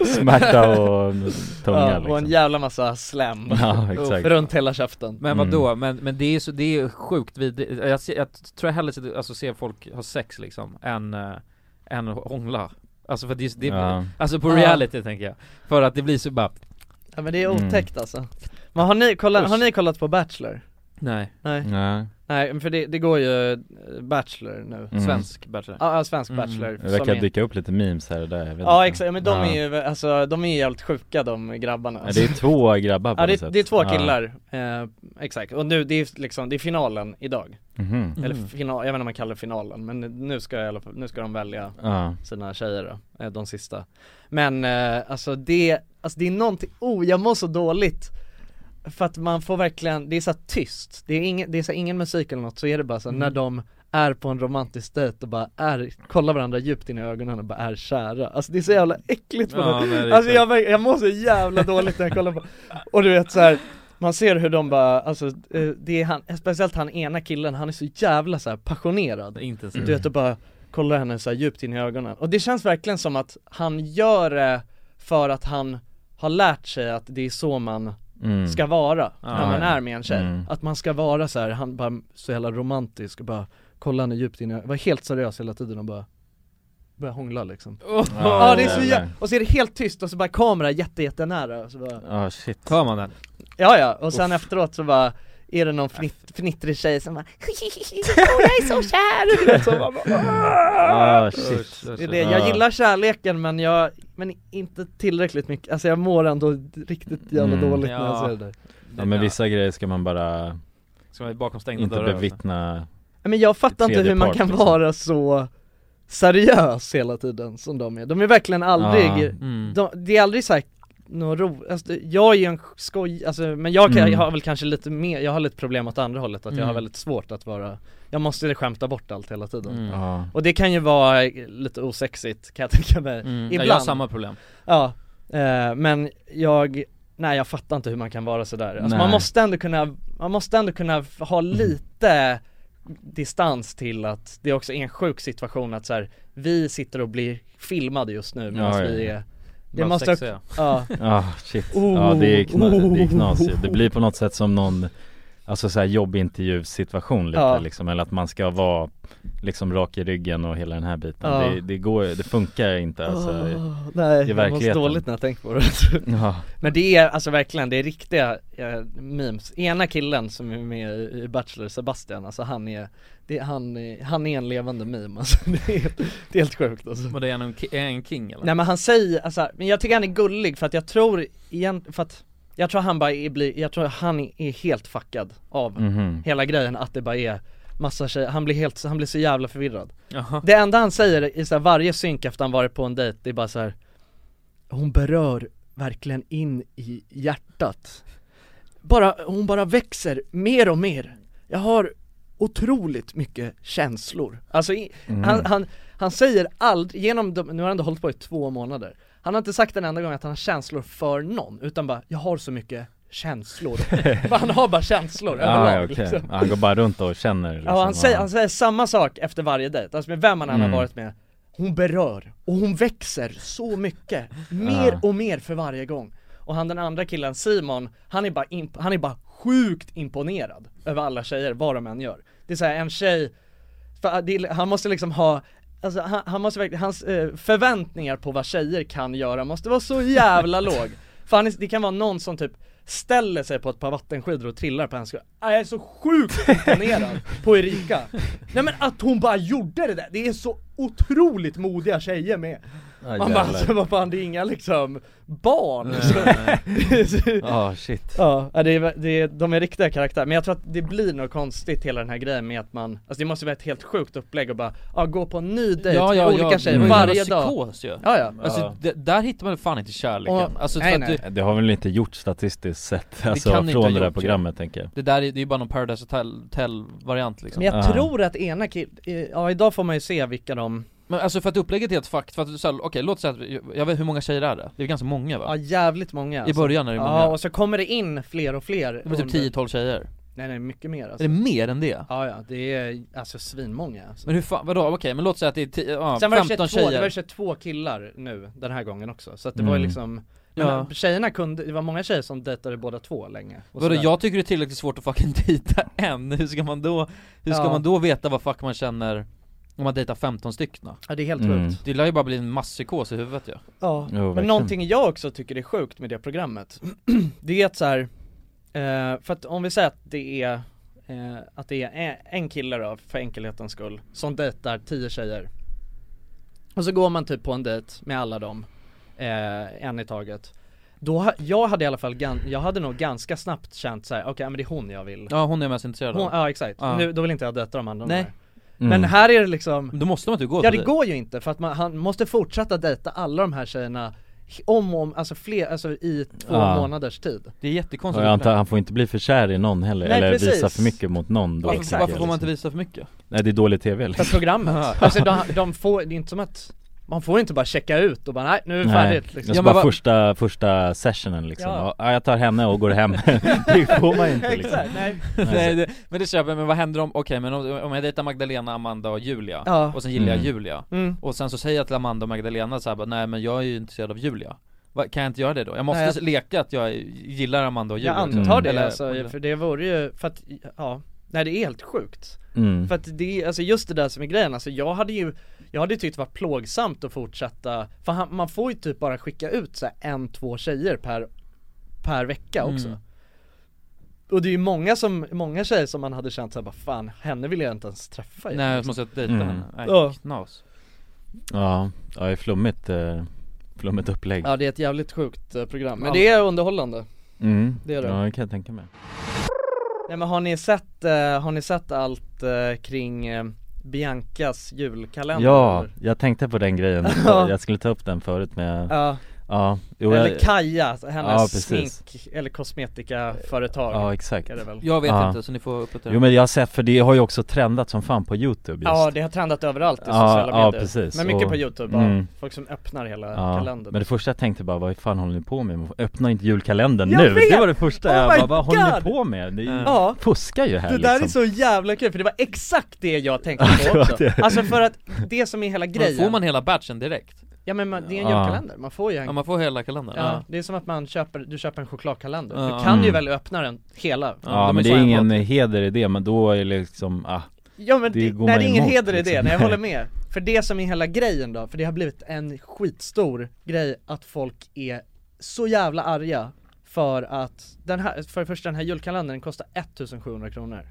S1: och smärta och tunga
S2: ja,
S1: liksom.
S2: och en jävla massa slem
S1: Ja, exakt.
S2: runt hela käften
S4: Men vadå,
S1: Mm.
S4: men, men det är så, det är sjukt vidrigt, jag, ser, jag tror jag hellre ser, alltså, ser folk ha sex liksom, än, eh, än hångla Alltså för det, det
S1: Ja.
S4: alltså på
S2: Ja.
S4: reality tänker jag, för att det blir så bara
S2: Ja men det är
S4: Mm.
S2: otäckt alltså Men har ni, kollat, har ni kollat på Bachelor?
S4: Nej
S2: Nej
S1: Nej.
S2: Nej men för det, det går ju eh, Bachelor nu
S1: Mm. Svensk
S4: Bachelor
S2: Ja, ja, svensk Bachelor
S1: Det
S2: som
S1: verkar
S2: är-
S1: dyka upp lite memes här och där, jag vet
S2: Ja
S1: inte.
S2: exakt, ja, men de
S1: Ja.
S2: är ju, alltså de är ju jävligt sjuka de grabbarna
S1: Ja, det är två grabbar på
S2: Ja det,
S1: något
S2: är-
S1: sätt.
S2: det är två
S1: Ja.
S2: killar, eh, exakt, och nu det är liksom, det är finalen idag
S1: Mhm.
S2: Eller
S1: Mhm.
S2: final, jag vet inte om man kallar det finalen men nu ska jag, i alla fall- nu ska de välja
S1: Ja.
S2: sina tjejer då, eh, de sista Men eh, alltså det, alltså det är någonting, oh jag mår så dåligt För att man får verkligen, det är så här tyst, det är ingen, det är så här, ingen musik eller något så är det bara så här,
S4: Mm.
S2: när de är på en romantisk dejt och bara är, kollar varandra djupt in i ögonen och bara är kära Alltså det är så jävla äckligt på
S4: Ja,
S2: något
S4: men det är
S2: Alltså
S4: så.
S2: jag, verk- jag mår så jävla dåligt när jag kollar på Och du vet så här. Man ser hur de bara, alltså eh, det är han, speciellt han ena killen, han är så jävla så här passionerad
S4: Intensiv.
S1: Mm.
S2: Du vet och bara kollar henne så här djupt in i ögonen Och det känns verkligen som att han gör det för att han har lärt sig att det är så man
S1: Mm.
S2: ska vara när
S1: Ja,
S2: man
S1: ja.
S2: är med en tjej
S1: Mm.
S2: Att man ska vara så här, han bara så jävla romantisk och bara kollar henne djupt in i ögonen, var helt seriös hela tiden och bara Börjar hångla liksom
S4: Ja,
S2: Ja det är så
S1: jävlar.
S2: jä- och så är det helt tyst och så bara kamera jätte jättenära och så bara
S1: Ja shit
S4: Hör man den?
S2: Ja ja, och sen efteråt så bara är det någon fnitt, fnittrig tjej som bara Jag är så kär! Du vet, så bara,
S1: Ah, shit.
S2: Det är det. Jag gillar kärleken men jag, men inte tillräckligt mycket, alltså jag mår ändå riktigt jävla
S1: Mm.
S2: dåligt när jag ser det där
S1: Ja men vissa grejer ska man bara
S4: Ska man bakom stängda
S1: inte
S4: dörrar alltså.
S1: bevittna
S2: Nej, Men jag fattar inte
S1: Tredje
S2: hur man
S1: part,
S2: kan
S1: liksom.
S2: vara så seriös hela tiden som de är, de är verkligen aldrig,
S1: Ja.
S4: Mm.
S2: de, det är aldrig såhär något ro, alltså, det- jag är ju en skoj, alltså, men jag, kan,
S1: Mm.
S2: jag har väl kanske lite mer, jag har lite problem åt andra hållet att jag har
S1: Mm.
S2: väldigt svårt att vara Jag måste skämta bort allt hela tiden
S4: Mm.
S1: Ja.
S2: Och det kan ju vara lite osexigt kan jag tänka mig,
S4: Mm. Ja,
S2: ibland
S4: jag har samma problem
S2: Ja, eh, men jag, nej jag fattar inte hur man kan vara sådär. Alltså
S1: Nej.
S2: man måste ändå kunna, man måste ändå kunna f- ha lite distans till att det också är en sjuk situation att så här, vi sitter och blir filmade just nu medan
S1: Ja, ja,
S2: vi
S1: ja.
S2: är
S4: Bara sexiga.
S2: också, ja
S1: Ja shit, ja det är, kna, det är knas ju. Det blir på något sätt som någon Alltså såhär jobbintervjusituation lite
S2: Ja.
S1: liksom, eller att man ska vara liksom rak i ryggen och hela den här biten
S2: Ja. Ah.
S1: det, det går, det funkar inte alltså
S2: Åh,
S1: i-
S2: nej,
S1: i
S2: jag mår så
S1: verkligheten.
S2: dåligt när jag tänker på det
S1: Ja.
S2: Men det är alltså verkligen, det är riktiga eh, memes Ena killen som är med i i Bachelor, Sebastian, alltså han är, det, är- han, är han är en levande meme alltså, det är, helt- det är helt sjukt alltså
S4: Men det är en, ki- är en king eller?
S2: Nej men han säger, alltså, men jag tycker han är gullig för att jag tror igen, för att jag tror han bara är, blir, jag tror han är helt fuckad av
S1: Mhm.
S2: hela grejen att det bara är massa tjejer, han blir helt, han blir så jävla förvirrad
S4: Jaha.
S2: Det enda han säger i så här, varje synk efter han varit på en dejt, det är bara så här. Hon berör verkligen in i hjärtat bara, hon bara växer mer och mer Jag har otroligt mycket känslor. Alltså, i,
S3: Mm.
S2: han, han, han säger aldrig, genom de, nu har han ändå hållit på i två månader, han har inte sagt en enda gång att han har känslor för någon, utan bara 'jag har så mycket känslor' Men Han har bara känslor
S1: ah,
S2: överlag
S1: okej.
S2: liksom.
S1: Ja, Han går bara runt och känner liksom.
S2: Ja, han, säger, han säger samma sak efter varje dejt, alltså med vem han än
S1: Mm.
S2: har varit med Hon berör, och hon växer så mycket, mer och mer för varje gång Och han den andra killen Simon, han är bara, imp- han är bara sjukt imponerad över alla tjejer, vad de än gör Det är såhär en tjej, för det är, han måste liksom ha Alltså han, han måste verkligen, hans eh, förväntningar på vad tjejer kan göra måste vara så jävla låg För han är, det kan vara någon som typ ställer sig på ett par vattenskidor och trillar på hans sko- Ah, Jag är så sjukt imponerad på Erika Nej men att hon bara gjorde det där, det är så otroligt modiga tjejer med Man bara
S1: Ah, jävlar.
S2: alltså, vad fan det är inga liksom barn liksom.
S1: Ah, shit.
S2: Ja, ja, det är, det är, de är riktiga karaktärer, men jag tror att det blir något konstigt hela den här grejen med att man, alltså det måste vara ett helt sjukt upplägg och bara, ja gå på en ny dejt
S4: Ja,
S2: med
S4: ja,
S2: olika
S4: ja, Mm.
S2: tjejer
S4: men-
S2: varje
S4: jävla
S2: dag
S4: psykos ju.
S2: Ja, ja.
S4: Alltså,
S1: Ja.
S4: d- där hittar man fan inte kärleken
S2: Och-
S4: alltså, för
S2: nej,
S4: att
S2: nej.
S4: du,
S1: Det har väl inte gjort statistiskt sett alltså,
S4: kan inte ha
S1: från det där
S4: gjort, ja.
S1: programmet tänker jag
S4: Det där är, det är ju bara någon Paradise Hotel, Hotel variant liksom
S2: Men jag tror att ena killen, ja idag får man ju se vilka de
S4: Men alltså för att upplägget är helt fakt, för att så här, okej låt säga att, jag- jag vet hur många tjejer är det? Det är ganska många
S2: Ja
S4: va?
S2: jävligt många alltså.
S4: början är det många.
S2: Ja och så kommer det in fler och fler
S4: Det var typ 10-12 tjejer
S2: Nej nej mycket mer alltså.
S4: Är det mer än det?
S2: Ja ja, det är alltså svinmånga alltså.
S4: Men hur fan, vadå? Okej men låt säga att det är 10, ja,
S2: Sen var det
S4: 15
S2: 22, det var
S4: tjejer
S2: 22 killar nu den här gången också, så att det
S4: Mm.
S2: var ju liksom men
S4: Ja.
S2: Tjejerna kunde, det var många tjejer som dejtade båda två länge och
S4: Vadå
S2: sådär.
S4: jag tycker det är tillräckligt svårt att fucking dejta en, hur ska man då, hur ska
S2: Ja.
S4: man då veta vad fuck man känner om man dejtar 15 stycken?
S2: Ja det är helt
S1: Mm.
S2: sjukt
S4: Det lär ju bara bli en masspsykos i huvudet ju
S2: Ja,
S1: Jo,
S2: men
S1: verkligen.
S2: någonting jag också tycker är sjukt med det programmet Det är att så här, eh, för att om vi säger att det är eh, Att det är en- en kille då, för enkelhetens skull, som dejtar tio tjejer Och så går man typ på en dejt med alla dem, eh, en i taget då, ha- jag hade i alla fall, gan, jag hade nog ganska snabbt känt såhär, okej men det är hon jag vill
S4: Ja hon är mest intresserad av
S2: hon, Ja exakt,
S4: Ja.
S2: Nu, då vill inte jag dejta de andra
S4: Nej.
S2: där.
S1: Mm.
S2: Men här är det liksom
S4: Då måste man inte gå på
S2: Ja
S4: typ.
S2: det
S4: dejt.
S2: går ju inte för att man, han måste fortsätta dejta alla de här tjejerna om och om, alltså fler, alltså i två
S1: Ja.
S2: månaders tid
S4: Det är jättekonstigt
S1: Och jag antar, han får inte bli för kär i någon heller,
S2: Nej,
S1: eller
S2: precis.
S1: visa för mycket mot någon då
S4: Varför,
S1: tänker
S4: varför
S1: jag,
S4: får man inte
S1: liksom.
S4: visa för mycket?
S1: Nej det är dålig tv
S2: För
S1: liksom.
S4: Ja.
S2: programmet, alltså de, de får, det är inte som att man får inte bara checka ut och bara nej nu är det färdigt
S1: Nej,
S2: liksom.
S1: alltså bara första, första sessionen liksom,
S2: Ja.
S1: ja. jag tar henne och går hem Det får man inte liksom
S2: Exakt, nej.
S4: Nej, det, men det köper jag, men vad händer om, okej men om, om jag dejtar Magdalena, Amanda och Julia,
S2: Ja.
S4: och sen gillar jag
S1: Mm.
S4: Julia,
S2: Mm.
S4: och sen så säger jag till Amanda och Magdalena så här, bara, nej men jag är ju intresserad av Julia Va, Kan jag inte göra det då? Jag måste
S2: Nej, jag-
S4: leka att jag gillar Amanda och Julia
S2: Jag
S4: liksom.
S2: antar det
S4: Eller-
S2: alltså, för det vore ju, för att, ja, nej det är helt sjukt
S1: mm.
S2: För att det, alltså just det där som är grejen, alltså jag hade ju Jag hade ju tyckt det var plågsamt att fortsätta, för han, man får ju typ bara skicka ut så här en, två tjejer per, per vecka också
S4: Mm.
S2: Och det är ju många som, många tjejer som man hade känt såhär bara fan, henne vill jag inte ens träffa Liksom. ju."
S4: Nej jag måste dejta
S1: Mm.
S4: henne, nej
S2: Ja.
S4: knas
S1: Ja, ja det är flummigt, eh, flummigt upplägg
S2: Ja det är ett jävligt sjukt eh, program, men
S4: Ja.
S2: det är underhållande
S1: mm.
S2: det är det.
S1: Ja det kan jag tänka mig
S2: Nej men har ni sett, eh, har ni sett allt eh, kring eh, Biancas julkalender?
S1: Ja,
S2: eller?
S1: jag tänkte på den grejen,
S2: Ja.
S1: jag skulle ta upp den förut men jag,
S2: Ja,
S1: ja, jo, jag,
S2: eller Kaja,
S1: Ja,
S2: hennes
S1: precis.
S2: smink eller kosmetikaföretag
S1: ja exakt
S2: är det väl?
S4: Jag vet
S1: Ja.
S4: inte, så ni får uppdatera
S1: Jo men jag har sett, för det har ju också trendat som fan på youtube just
S2: Ja det har trendat överallt i
S1: Ja,
S2: sociala
S1: ja,
S2: medier
S1: precis.
S2: Men mycket
S1: Och-
S2: på youtube, ja.
S1: Mm.
S2: folk som öppnar hela
S1: Ja,
S2: kalendern
S1: men det första jag tänkte bara, vad fan håller ni på med? Öppna inte julkalendern
S2: Jag
S1: nu!
S2: vet!
S1: Det var det första
S2: Oh
S1: jag
S2: my
S1: bara, vad håller ni
S2: God!
S1: på med? Ni
S2: Ja,
S1: fuskar ju här
S2: det där
S1: liksom.
S2: är så jävla kul för det var exakt det jag tänkte på också
S1: det.
S2: Alltså för att det som är hela
S4: Men Får
S2: grejen,
S4: man hela batchen direkt?
S2: ja men man, det är en
S1: Ja.
S2: julkalender, man får ju en
S4: Ja
S2: ja,
S4: man får hela kalendern? Ja,
S2: Det är som att man köper, du köper en chokladkalender,
S4: Ja.
S2: du kan ju
S1: Mm.
S2: väl öppna den hela
S1: Ja,
S4: de
S1: men det
S4: så
S1: är
S4: här
S1: ingen
S4: på-
S1: heder i det, men då är det liksom, ah,
S2: Ja men
S1: Det
S2: det,
S1: går
S2: nej,
S1: man
S2: det är ingen
S1: emot,
S2: heder i det,
S1: liksom.
S2: nej, jag håller med För det som är hela grejen då, för det har blivit en skitstor grej att folk är så jävla arga För att den här, för det första den här julkalendern kostar 1700 kronor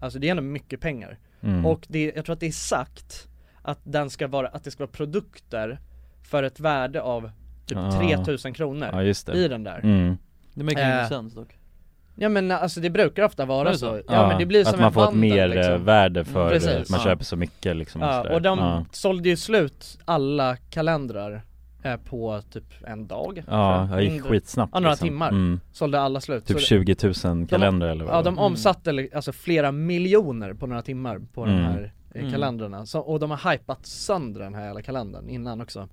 S2: Alltså det är ändå mycket pengar
S1: mm.
S2: Och det, jag tror att det är sagt att den ska vara, att det ska vara produkter för ett värde av typ
S1: Ah.
S2: 3000 kronor
S1: ja just det
S2: i den där
S1: mm.
S4: det make ingen
S2: Eh,
S4: sense dock
S2: Ja men alltså det brukar ofta
S4: Är
S2: vara
S4: det
S2: så?
S4: så?
S2: Ja, men det blir som
S1: Att man
S2: en
S1: får ett
S2: vandel,
S1: mer
S2: liksom.
S1: eh, värde för
S2: Precis.
S1: att man
S4: Ja.
S1: köper så mycket liksom
S2: Ja,
S1: sådär.
S2: och de
S1: ja.
S2: sålde ju slut alla kalendrar eh, på typ en dag
S1: Ja,
S2: tror jag.
S1: det gick
S2: Mindre.
S1: skitsnabbt,
S2: Ja, några
S1: liksom.
S2: timmar
S1: Mm.
S2: Sålde alla slut
S1: Typ
S2: Så det-
S1: 20 000 kalendrar eller vad
S2: Ja
S1: det var.
S2: de omsatte li- alltså flera miljoner på några timmar på de
S1: Mm.
S2: här eh,
S1: Mm.
S2: kalendrarna så, Och de har hypat sönder den här jävla kalendern innan också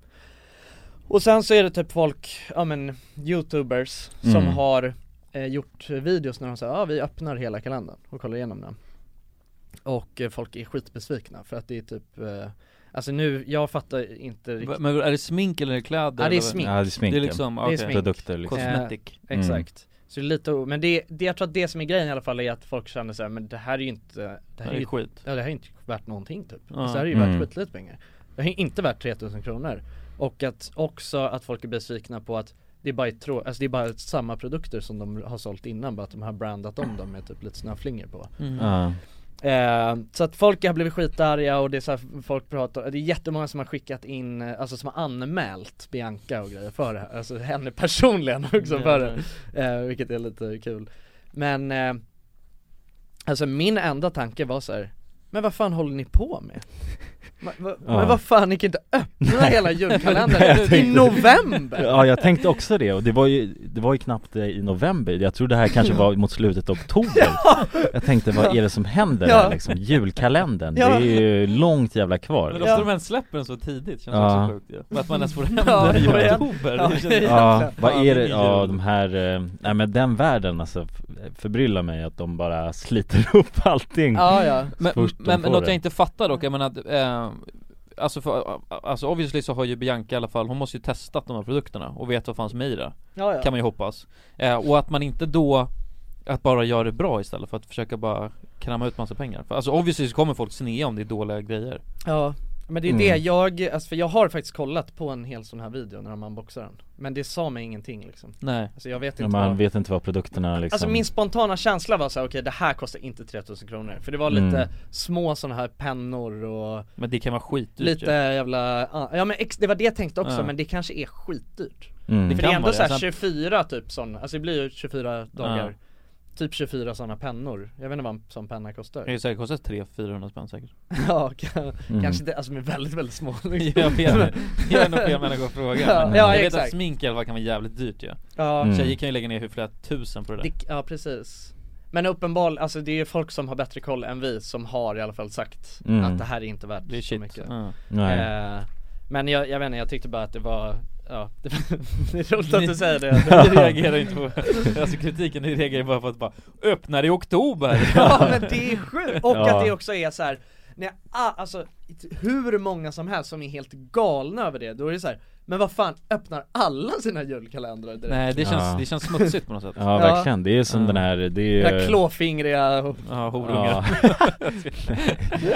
S2: Och sen så är det typ folk, ja men youtubers som
S3: Mm.
S2: har eh, gjort videos när de säger ja vi öppnar hela kalendern och kollar igenom den Och eh, folk är skitbesvikna för att det är typ eh, Alltså nu, jag fattar inte riktigt
S4: Men är det smink eller är det kläder?
S2: Ja det är
S4: eller?
S2: smink
S1: Ja, det är smink,
S4: Det är
S1: ja.
S4: liksom,
S1: Det
S2: det
S4: okej.
S2: är smink.
S4: Kosmetik
S1: Mm.
S2: Eh, Exakt Så det är lite, o- men det, det, jag tror att det som är grejen i alla fall är att folk känner såhär, men det här är ju inte Det här är,
S4: är
S2: ju,
S4: skit.
S2: Ja Eh, det här är inte värt någonting typ
S4: Ja.
S2: alltså, Det här är ju
S4: Mm.
S2: värt skitlite pengar Det här är inte värt 3000 kronor Och att också att folk är besvikna på att det är bara, ett trå- alltså det är bara samma produkter som de har sålt innan bara att de har brandat om dem med typ lite snöflingor på
S1: Mm. Ja.
S2: Eh, så att folk har blivit skitarga och det är så här, folk pratar, det är jättemånga som har skickat in, eh, alltså som har anmält Bianca och grejer för det här, alltså henne personligen också
S4: Liksom Mm.
S2: för det, eh, vilket är lite kul Men, eh, alltså min enda tanke var så här. men vad fan håller ni på med? Ma, va,
S1: Ja.
S2: Men vad fan, ni kan inte öppna hela
S1: Jag
S2: julkalendern i
S1: tänkte-
S2: november!
S1: Ja jag tänkte också det, och det var ju, det var ju knappt eh, i november Jag tror det här kanske var mot slutet av oktober Jag tänkte vad är det som händer
S4: Ja.
S1: här liksom? Julkalendern,
S4: Ja.
S1: det är ju långt jävla kvar
S4: Men
S1: liksom.
S4: ofta de ens släpper den så tidigt känns
S1: Ja.
S4: också sjukt ju. Men Att man ens får hem
S1: Ja,
S4: den i
S1: får hem.
S4: oktober.
S1: Ja,
S4: Det känns-
S1: vad är det,
S4: Fan,
S1: ja de här, eh, nej men den världen alltså f- förbryllar mig att de bara sliter upp allting så
S4: Men,
S1: fort de
S4: men
S1: får
S4: något
S1: det.
S4: jag inte fattar dock, jag menar att, eh, alltså, för, alltså obviously så har ju Bianca i alla fall, hon måste ju testat de här produkterna och vet vad fanns med i det
S2: Ja, ja.
S4: Kan man ju hoppas eh, Och att man inte då, att bara göra det bra istället för att försöka bara krama ut massa pengar för, Alltså obviously så kommer folk snea om det är dåliga grejer
S2: Ja, men det är
S4: Mm.
S2: det jag, alltså för jag har faktiskt kollat på en hel sån här video när de unboxar den Men det sa mig ingenting liksom
S4: Nej.
S2: Alltså jag vet
S1: Ja,
S2: inte
S1: Man
S2: vad
S1: vet inte vad produkterna liksom
S2: Alltså min spontana känsla var så här, okej det här kostar inte 3000 kronor För det var lite
S1: Mm.
S2: små såna här pennor och
S4: Men det kan vara skitdyrt
S2: Lite
S4: Typ ju.
S2: jävla, ja men ex, det var det jag tänkte också
S4: Ja.
S2: men det kanske är skitdyrt
S4: Mm. Det
S2: För det
S4: kan
S2: är ändå
S4: vara det. Sen-
S2: såhär 24 typ sån, alltså det blir ju 24 dagar Typ 24 sådana pennor, jag vet inte vad en sån penna kostar
S4: Det är säkert kostar 300-400 spänn säkert
S2: Ja, kan,
S4: Mm.
S2: kanske inte, alltså de är väldigt väldigt små
S4: Jag vet inte, jag vet inte om jag menar att fråga
S2: Ja,
S4: men
S2: ja
S4: Jag vet
S2: exakt
S4: att smink i alla fall kan vara jävligt dyrt ju
S2: Ja.
S4: ja.
S2: Mm.
S4: Tjejer kan ju lägga ner hur flera tusen på det där
S2: det, Ja precis Men uppenbarligen, alltså det är ju folk som har bättre koll än vi som har i alla fall sagt
S4: Mm.
S2: att det här är inte värt det är så mycket
S4: Ja.
S1: Nej.
S2: Eh, Men jag, jag vet inte, jag tyckte bara att det var, ja det, det är roligt att
S4: Ni-
S2: du säger det
S4: Ni reagerar inte på, alltså kritiken, ni reagerar bara på att bara öppnar i oktober!
S2: Ja men det är sjukt! Och
S4: Ja.
S2: att det också är så här. När, ah, alltså hur många som helst som är helt galna över det, då är det så här. Men vad fan, öppnar alla sina julkalendrar direkt?
S4: Nej det känns,
S1: Ja.
S4: det känns smutsigt på något sätt
S1: Ja verkligen, det är som den här, det är
S2: Den här klåfingriga och...
S4: Ja, horungar.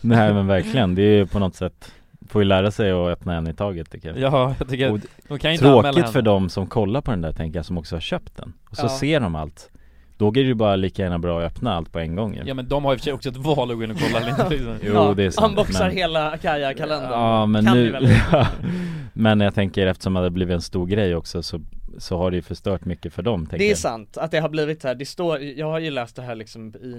S1: Nej men verkligen, det är ju på något sätt Får ju lära sig att öppna en i taget tycker jag
S4: Ja, jag tycker att-
S1: Och
S4: de kan ju inte anmäla
S1: Tråkigt
S4: henne.
S1: för dem som kollar på den där tänker jag, som också har köpt den Och så
S4: Ja.
S1: ser de allt Då är det ju bara lika gärna bra att öppna allt på en gång ju.
S4: Ja men de har i och för sig också ett val att gå in och kolla lite liksom.
S1: Jo det är sant
S2: Unboxar
S1: men-
S2: hela Kaja-kalendern
S1: Ja men
S2: Kan vi
S1: nu,
S2: väl?
S1: ja, men jag tänker eftersom det har blivit en stor grej också så, så har det ju förstört mycket för dem tänker
S2: Det är
S1: jag.
S2: sant, att det har blivit så här, det står, jag har ju läst det här liksom i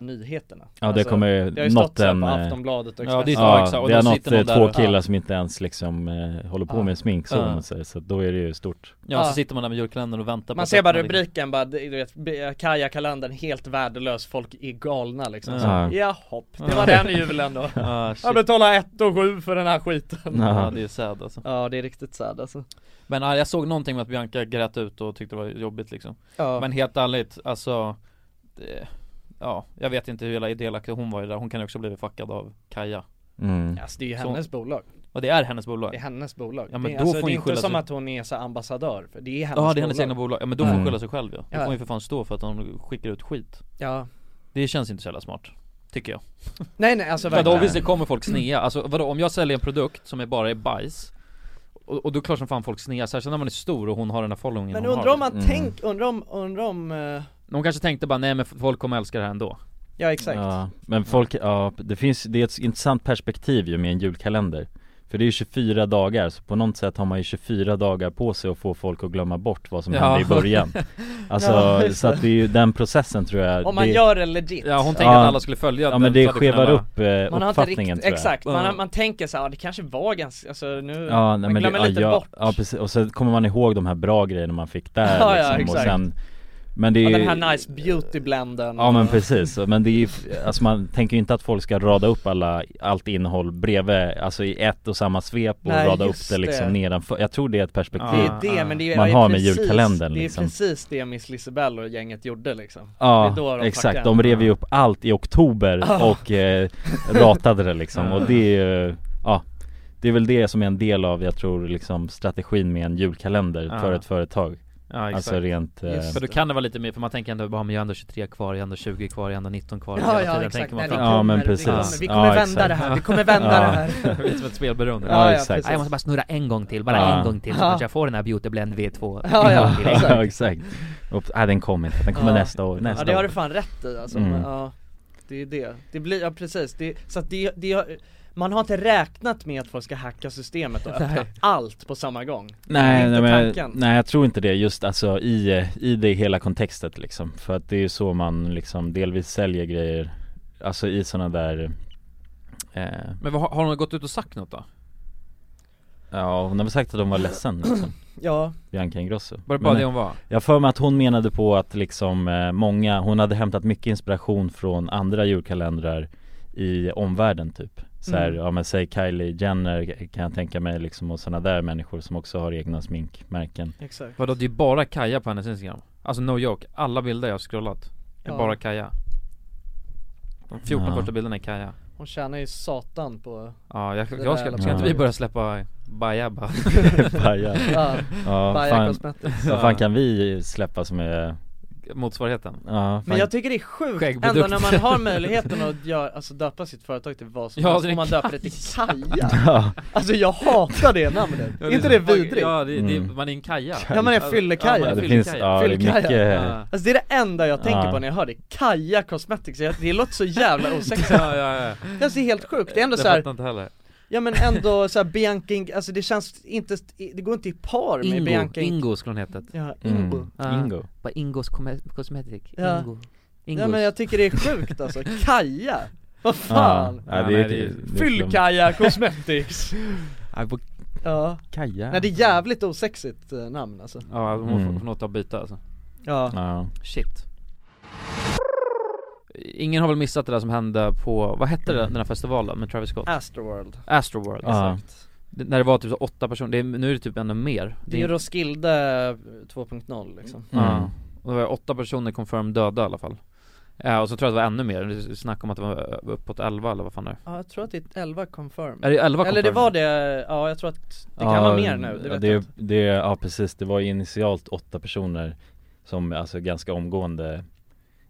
S2: nyheterna
S1: Ja det kommer
S2: det har ju
S1: nått
S2: stått så här
S1: en
S2: på
S1: eh,
S2: Aftonbladet och
S1: Ja
S2: Expressen.
S1: det,
S4: Ja, exakt. Och
S1: har
S4: då sitter någon
S1: nått eh,
S4: där
S1: två
S4: och-
S1: killar som inte ens liksom eh, håller på
S4: Ja.
S1: med smink så,
S4: Ja.
S1: om man säger, så då är det ju stort
S4: Ja, så sitter man där med julkalendern och väntar på
S2: Man
S4: att
S2: ser bara
S4: öppna det.
S2: rubriken bara, du vet, be- Kaja-kalendern helt värdelös, folk är galna liksom så,
S4: Ja.
S2: Jaha, det
S4: Ja.
S2: var den julen då
S4: Ja,
S2: Jag betalar 1 och 7 för den här skiten
S4: Ja det är sad alltså
S2: Ja det är riktigt sad alltså
S4: Men ja, jag såg någonting med att Bianca grät ut och tyckte det var jobbigt liksom
S2: Ja.
S4: Men helt ärligt, alltså det, Ja, jag vet inte hur hela delaktig hon var i det där, hon kan ju också blivit fuckad av Kaja
S1: Mm.
S2: Alltså det är ju hennes bolag
S4: Och det är hennes bolag
S2: Det är hennes bolag
S4: Ja men
S2: det, är-
S4: då
S2: alltså,
S4: får hon
S2: det är
S4: ju
S2: inte
S4: skylla
S2: som
S4: sig
S2: att hon är så här ambassadör, för det är hennes
S4: Ja det är hennes egna bolag, ja men då
S1: Mm.
S4: får hon skylla sig själv ja. Då
S2: Ja.
S4: får hon ju för fan stå för att hon skickar ut skit
S2: Ja.
S4: Det känns inte så jävla smart, tycker jag
S2: Nej, nej, alltså
S4: För då
S2: verkligen.
S4: visst det kommer folk snea, alltså vadå om jag säljer en produkt som är bara är bajs och, och då är det klart som fan folk snear, särskilt när man är stor och hon har den här followingen
S2: Men
S4: hon
S2: undrar om
S4: har. Mm.
S2: man tänk, undrar om, undrar om eh,
S4: De kanske tänkte bara nej men folk kommer älska det här ändå
S2: Ja exakt
S1: Ja, men folk, ja det finns, det är ett intressant perspektiv ju med en julkalender För det är ju 24 dagar, så på något sätt har man ju 24 dagar på sig att få folk att glömma bort vad som
S4: Ja.
S1: hände i början Alltså,
S4: Ja, just
S1: så att det är ju den processen tror jag
S2: Om man
S1: det,
S2: gör det legit
S4: Ja, hon tänker att alla skulle följa
S1: Ja men
S4: den
S1: det
S4: traditionella-
S1: skevar upp eh,
S2: man har inte
S1: uppfattningen
S2: riktigt,
S1: tror jag
S2: exakt, man, har- man tänker såhär, det kanske var ganska, alltså nu,
S1: Ja, nej,
S2: man
S1: men
S2: glömmer
S1: det,
S2: lite
S1: ja,
S2: bort
S1: ja, precis, och så kommer man ihåg de här bra grejerna man fick där
S2: Ja, ja,
S1: liksom, och
S2: exakt.
S1: sen Men det är
S2: ja,
S1: ju,
S2: den här nice beauty blenden
S1: Ja men precis, men det är ju, alltså man tänker ju inte att folk ska rada upp alla, allt innehåll bredvid, alltså i ett och samma svep och
S2: Nej,
S1: rada upp
S2: just
S1: det liksom
S2: det.
S1: nedanför Jag tror det är ett
S2: Det
S1: perspektiv
S2: är det, men det är,
S1: man
S2: ja,
S1: har
S2: precis,
S1: med julkalendern
S2: Det är
S1: liksom
S2: precis det Miss Lisebell och gänget gjorde liksom
S1: Ja,
S2: Det är då de
S1: exakt,
S2: packade.
S1: de rev ju upp allt i oktober
S2: Ah.
S1: och eh, ratade det liksom och det är ju, ja Det är väl det som är en del av, jag tror liksom strategin med en julkalender
S4: Ja.
S1: för ett företag
S4: Ja, exakt.
S1: Alltså rent eh,
S4: För då kan det vara lite mer, för man tänker ändå bara men jag har ändå 23 kvar, jag har ändå 20 kvar, jag har ändå 19 kvar
S2: Ja,
S4: Hela
S2: ja,
S4: tiden
S2: exakt.
S4: tänker man
S2: Nej,
S4: fram-
S2: det kommer, Ja, men det precis. kommer. Vi kommer vända
S4: exakt.
S2: det här, vi kommer vända
S4: Ja.
S2: det här.
S4: Det är som ett spelberoende
S2: Ja, ja, precis.
S4: Nej, Jag måste bara snurra en gång till, bara
S1: Ja.
S4: en gång till så
S2: Ja.
S4: kanske jag får den här beauty blend V2
S2: Ja, ja,
S4: en gång till.
S1: Ja exakt, Oops, nej den kommer inte, den kommer
S2: Ja.
S1: nästa år, nästa
S2: Ja det har
S1: år.
S2: du fan rätt i alltså,
S1: Mm.
S2: men, ja Det är det, det blir, ja precis, det, så att det, det har- man har inte räknat med att folk ska hacka systemet och öppna
S1: Nej.
S2: allt på samma gång Det är
S1: Nej, nej,
S2: inte
S1: men,
S2: tanken.
S1: nej jag tror inte det just alltså i, eh, i det hela kontextet liksom För att det är ju så man liksom delvis säljer grejer Alltså i sådana där eh,
S4: Men vad, har- har hon gått ut och sagt något då?
S1: Ja hon har väl sagt att hon var ledsen liksom
S2: Ja.
S1: Bianca Ingrosso
S4: Var det bara
S1: Men,
S4: det
S1: eh,
S4: hon var?
S1: Jag har för mig att hon menade på att liksom eh, många, hon hade hämtat mycket inspiration från andra julkalendrar i omvärlden typ så här,
S4: Mm.
S1: ja men säg Kylie Jenner kan jag tänka mig liksom och sådana där människor som också har egna sminkmärken
S2: Exakt
S4: Vadå det är bara Kaja på hennes instagram? Alltså no joke, alla bilder jag har scrollat är
S2: Ja.
S4: bara Kaja De 14
S1: Ja.
S4: första bilderna är Kaja
S2: Hon tjänar ju satan på
S4: Ja, jag,
S2: det
S4: jag ska,
S2: där.
S4: ska inte vi
S1: Ja.
S4: börja släppa Baja bara?
S1: Baja
S2: Ja. Baja
S1: fan,
S2: Cosmetics.
S1: Vad fan kan vi släppa som är
S4: Motsvarigheten
S1: Ja,
S2: Men
S1: fan,
S2: jag tycker det är sjukt
S4: Skäggprodukt.
S2: ändå när man har möjligheten att göra, alltså döpa sitt företag till vad som
S4: Ja,
S2: helst
S4: det är
S2: och man döper det till Kaja
S1: Ja.
S2: Alltså jag hatar det namnet,
S4: Ja,
S2: är inte det
S4: så fuck-
S2: vidrigt?
S4: Ja, det, det,
S1: Mm.
S4: man är en kaja
S2: Ja man är
S4: Ja,
S2: fyllekaja
S4: man är
S1: det finns, ja, det är
S2: Fyllekaja.
S1: mycket
S2: Alltså det är det enda jag tänker
S1: Ja.
S2: på när jag hör det, Kaja Cosmetics, Jag- det låter så jävla osexigt
S4: Ja, ja, ja.
S2: Det är alltså helt sjukt, det är ändå
S4: Det
S2: så här,
S4: fattar inte heller.
S2: ja men ändå så här Bianca, Ing- alltså det känns inte, det går inte i par med Bianca Ing-
S4: Ingo skulle hon hetat
S2: Ja, Ingo.
S1: Mm.
S4: Ja.
S1: Ingo.
S4: Bara Ingos Cosme- Cosmetic,
S2: Ja.
S4: Ingo
S2: Ja men jag tycker det är sjukt alltså, Kaja! Vad fan!
S1: Ja, nej, det är- det är-
S2: Fyllkaja Cosmetics!
S1: Ja, på
S2: Ja
S1: Kaja
S2: Nej det är jävligt osexigt eh, namn alltså
S4: Ja, hon får-
S1: Mm.
S4: får något att byta alltså
S2: Ja.
S1: Ja.
S4: Shit Ingen har väl missat det där som hände på, vad hette det, den här festivalen med Travis Scott?
S2: Astroworld
S4: Astroworld
S1: Ja.
S2: Exakt.
S4: Det- När det var typ så åtta personer, det är, nu är det typ ännu mer
S2: Det är ju Roskilde 2.0 liksom
S4: Ja,
S1: Mm.
S4: och det var åtta personer confirmed döda i alla fall eh, Och så tror jag att det var ännu mer, det är snack om att det var eh, uppåt elva eller vad fan det är
S2: Ja jag tror att det är 11 confirm
S4: Är det 11
S2: Eller det
S4: confirm?
S2: var det, ja jag tror att det kan vara mer nu, det
S1: ja,
S2: vet
S1: det,
S2: jag inte
S1: det, Ja precis, det var ju initialt åtta personer som alltså ganska omgående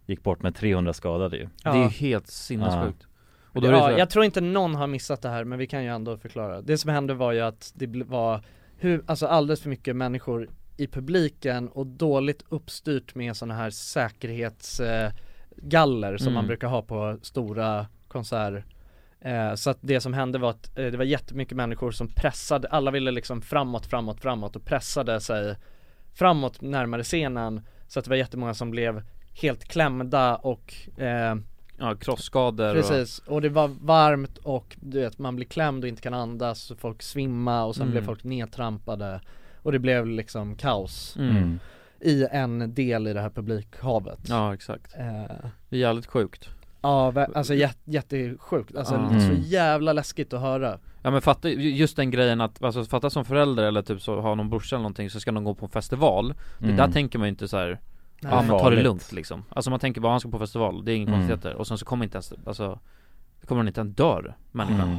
S1: gick bort med 300 skadade ju
S2: Ja. Det är ju
S4: helt sinnessjukt.
S1: Och då är det så
S2: ja,
S1: här-
S2: jag tror inte någon har missat det här men vi kan ju ändå förklara. Det som hände var ju att det bl- var hur, alltså alldeles för mycket människor i publiken och dåligt uppstyrt med sådana här säkerhetsgaller eh, galler som
S8: Mm.
S2: man brukar ha på stora konserter. Eh, så att det som hände var att eh, det var jättemycket människor som pressade, alla ville liksom framåt, framåt, framåt och pressade sig framåt närmare scenen så att det var jättemånga som blev helt klämda och eh,
S4: Ja, krossskador
S2: Precis, och det var varmt och du vet man blir klämd och inte kan andas så folk svimma och sen
S4: Mm.
S2: blev folk nedtrampade och det blev liksom kaos
S4: Mm.
S2: i en del i det här publikhavet
S4: Ja, exakt.
S2: Eh,
S4: Det är jävligt sjukt.
S2: Ja, vä- alltså jät- jättesjukt, alltså
S4: Mm.
S2: så jävla läskigt att höra
S4: Ja men fatta, ju- just den grejen att, alltså fatta som förälder eller typ så har någon brorsa eller någonting så ska någon gå på en festival
S1: Mm.
S4: Det där tänker man ju inte så här.
S1: Nej.
S4: ja men ta det
S1: Farligt.
S4: lugnt liksom Alltså man tänker bara han ska på festival, det är inga
S1: Mm.
S4: konstigheter och sen så kommer inte ens, alltså det Kommer han inte en dörr människan
S1: Mm.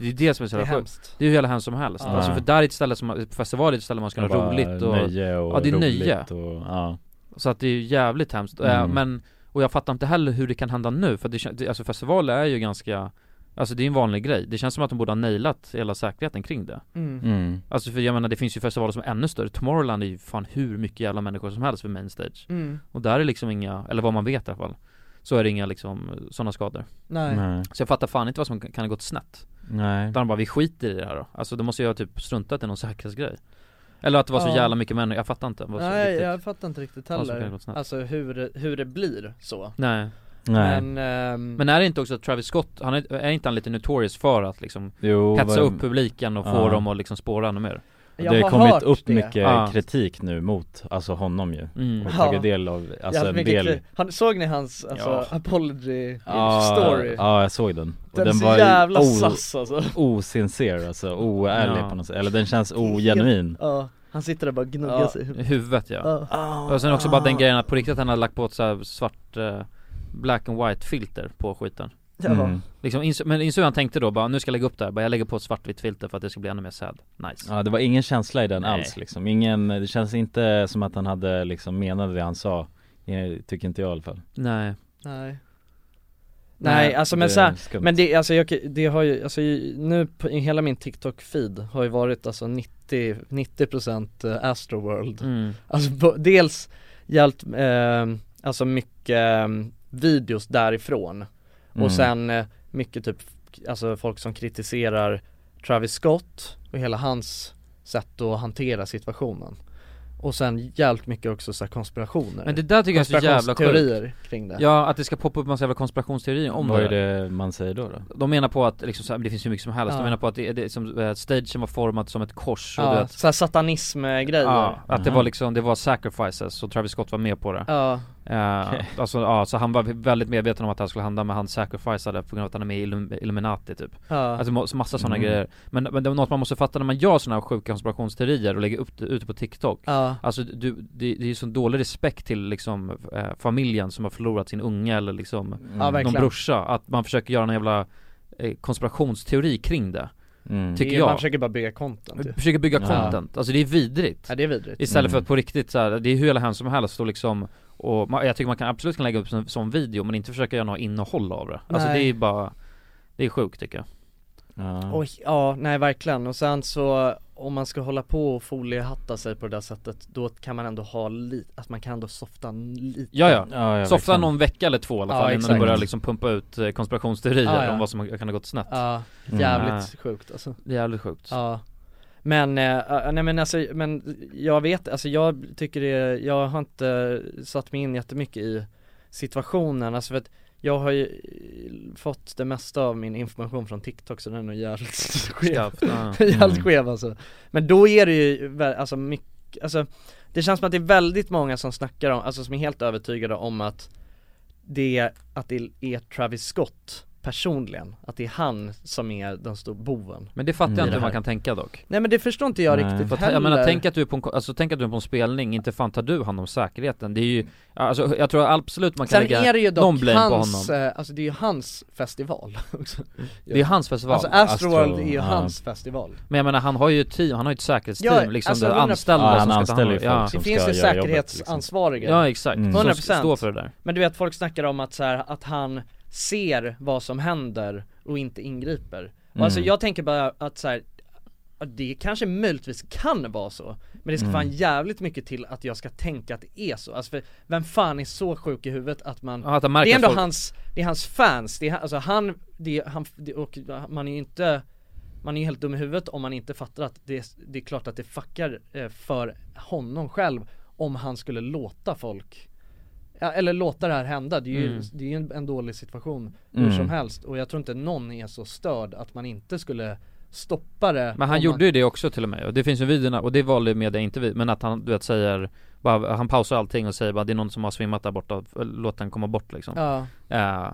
S4: det, är det det som är så
S1: Det är
S4: jävla sjukt
S1: hemskt.
S4: Det är ju hela hemskt som helst,
S1: Ja.
S4: alltså för där är ett ställe som, på festival är ett ställe man ska
S1: Det är
S4: ha
S1: Ah. bara
S4: roligt och
S1: nöje och
S4: Ja det är
S1: roligt
S4: nöje
S1: och- ja.
S4: Så att det är ju jävligt hemskt, Eh,
S1: Mm.
S4: men Och jag fattar inte heller hur det kan hända nu för det, kän- det alltså festivaler är ju ganska Alltså det är en vanlig grej, det känns som att de borde ha nailat hela säkerheten kring det
S2: Mm.
S1: Mm.
S4: Alltså för jag menar det finns ju festivaler som är ännu större, Tomorrowland är ju fan hur mycket jävla människor som helst för main stage
S2: Mm.
S4: Och där är liksom inga, eller vad man vet i alla fall Så är det inga liksom sådana skador
S2: Nej. Nej.
S4: Så jag fattar fan inte vad som kan ha gått snett
S1: Mm. Nej.
S4: Utan bara vi skiter i det här då, alltså då måste jag ha typ struntat i någon säkerhetsgrej Eller att det var så
S2: Ja.
S4: jävla mycket människor, jag fattar inte vad som
S2: Nej
S4: riktigt-
S2: jag fattar inte riktigt
S4: vad som kan ha
S2: heller
S4: gått snett.
S2: Alltså hur, det- hur det blir så
S4: Nej.
S2: Men, ehm,
S4: Mm. Men är det inte också att Travis Scott, han är, är inte han lite notorious för att liksom
S1: Jo,
S4: hetsa
S1: vad-
S4: upp publiken och få
S1: Ja.
S4: dem att liksom spåra ännu mer?
S1: Och det har kommit upp mycket kritik nu mot, alltså honom ju
S4: Ah. Mm.
S1: Och
S4: Ja.
S1: tagit del av, alltså en
S2: Jättemycket
S1: del
S2: kli- han, Såg ni hans alltså,
S1: Ja.
S2: apology
S1: Ja,
S2: story?
S1: Ja jag såg den
S2: Den är så jävla sass, alltså.
S1: Osincer alltså, oärlig
S2: Ja.
S1: på något sätt, eller den känns ogenuin
S2: Ja, han sitter där och bara gnuggar
S4: Ja,
S2: sig
S4: i huvudet ja.
S2: Ja. Ah.
S4: Och sen också bara den grejen att på riktigt han har lagt på ett så här svart eh, black and white filter på skiten
S2: Ja. Mm.
S4: Liksom, ins- men insåg han tänkte då bara, nu ska jag lägga upp det här, bara jag lägger på ett svartvitt filter för att det ska bli ännu mer sad, nice
S1: Ja det var ingen känsla i den
S4: Nej.
S1: alls liksom, ingen, det känns inte som att han hade liksom menade det han sa Eh, Tycker inte jag i alla fall
S4: Nej
S2: Nej
S1: Nej,
S2: Nej alltså men
S1: det är
S2: såhär,
S1: skumt.
S2: men det, alltså jag, det har ju, alltså ju- nu på, i hela min TikTok-feed har ju varit alltså 90, 90% eh, Astroworld
S4: Mm.
S2: Alltså bo, dels hjälpt, eh, alltså mycket eh, videos därifrån
S4: Mm.
S2: och sen eh, mycket typ, alltså folk som kritiserar Travis Scott och hela hans sätt att hantera situationen och sen jävligt mycket också så här konspirationer
S4: Men det där tycker jag är så jävla
S2: Konspirationsteorier kring det
S4: Ja, att det ska poppa upp massa jävla konspirationsteorier om
S1: Vad
S4: det
S1: är
S4: där.
S1: det man säger då då?
S4: De menar på att liksom, så här, det finns ju mycket som helst,
S2: Ja.
S4: de menar på att det, det, som, eh, stagen var format som ett kors och du
S2: Ja,
S4: vet,
S2: såhär satanism-grejer
S4: Ja, att det
S2: Mm.
S4: var liksom, det var sacrifices och Travis Scott var med på det
S2: Ja.
S4: Eh,
S2: Okej.
S4: Alltså ja, så han var väldigt medveten om att det här skulle hända men han sacrificade på grund av att han är med i Illum- Illuminati typ
S2: Ja.
S4: Alltså ma- så massa sådana
S2: Mm.
S4: grejer Men, men det är något man måste fatta när man gör sådana här sjuka konspirationsteorier och lägger upp det ute på TikTok
S2: Ja.
S4: Alltså du, det, det är ju sån dålig respekt till liksom eh, familjen som har förlorat sin unge eller liksom
S2: Ja,
S4: någon
S2: verkligen.
S4: brorsa Att man försöker göra en jävla eh, konspirationsteori kring det
S1: Mm.
S4: Tycker
S2: Det är-
S4: jag
S2: Man försöker bara bygga content ju.
S4: Försöker bygga
S2: Ja.
S4: content, alltså det är vidrigt
S2: Ja, det är vidrigt.
S4: Istället för
S2: Mm.
S4: att på riktigt så här, det är hur jävla hemskt som helst och liksom och man, jag tycker man kan absolut kan lägga upp en sån video men inte försöka göra något innehåll av det Alltså
S2: Nej.
S4: det är bara Det är sjukt tycker jag
S2: Och, ja, nej verkligen. Och sen så om man ska hålla på och foliehatta sig på det där sättet då kan man ändå ha lite, att man kan ändå softa n- lite
S4: Ja ja, softa någon vecka eller två i alla fall innan du börjar liksom pumpa ut eh, konspirationsteorier
S2: Ja, ja.
S4: om vad som kan ha gått snett
S2: Ja, jävligt
S4: Ja.
S2: sjukt alltså
S4: Det är jävligt sjukt
S2: Ja men, eh, eh, nej men alltså, men jag vet, alltså jag tycker det, jag har inte satt mig in jättemycket i situationen, alltså för att jag har ju eh, fått det mesta av min information från TikTok så den är nog jävligt skev,
S4: Skarpt, ja.
S2: jävligt
S4: Mm.
S2: skev alltså Men då är det ju, vä- alltså mycket, alltså det känns som att det är väldigt många som snackar om, alltså som är helt övertygade om att det, att det är Travis Scott personligen, att det är han som är den stora boven
S4: Men det fattar
S2: i
S4: jag inte hur
S2: här.
S4: man kan tänka dock
S2: Nej men det förstår inte jag
S4: Nej.
S2: riktigt
S4: För att-
S2: heller
S4: Jag menar tänk att du är på en, ko- alltså, tänk att du är på en spelning, inte fan tar du hand om säkerheten Det är ju, alltså jag tror absolut man kan
S2: Sen
S4: lägga
S2: är det ju
S4: någon
S2: dock
S4: blame på
S2: hans,
S4: honom
S2: eh, alltså det är ju hans festival också
S4: Det är ju hans festival
S2: Alltså Astroworld är ju
S4: ja.
S2: hans festival
S4: Men jag menar han har ju ett team, han har ju ett säkerhetsteam liksom,
S2: alltså,
S4: det är
S2: 100%.
S4: anställda som ska ta hand om ja.
S2: Det finns ju säkerhetsansvariga
S4: liksom. Ja exakt,
S2: Mm.
S4: som
S2: 100%
S4: står för det där
S2: Men du vet folk snackar om att så här, att han ser vad som händer och inte ingriper Och alltså
S4: Mm.
S2: jag tänker bara att så här, att det kanske möjligtvis kan vara så Men det ska
S4: Mm.
S2: fan jävligt mycket till att jag ska tänka att det är så Alltså för vem fan är så sjuk i huvudet att man
S4: Ja, att han märker
S2: Det är ändå
S4: att folk-
S2: hans, det är hans fans, det är, han- alltså han, det är, han, det, och man är ju inte man är ju helt dum i huvudet om man inte fattar att det, det är klart att det fuckar eh, för honom själv om han skulle låta folk Ja, eller låta det här hända, det är ju,
S4: Mm.
S2: det är ju en, en dålig situation hur
S4: Mm.
S2: som helst och jag tror inte någon är så störd att man inte skulle stoppa det
S4: Men han
S2: om
S4: gjorde ju det också till och med och det finns ju videorna och det valde ju media inte vi, men att han du vet säger bara, han pausar allting och säger bara det är någon som har svimmat där borta, låt den komma bort liksom
S2: Ja.
S4: Eh,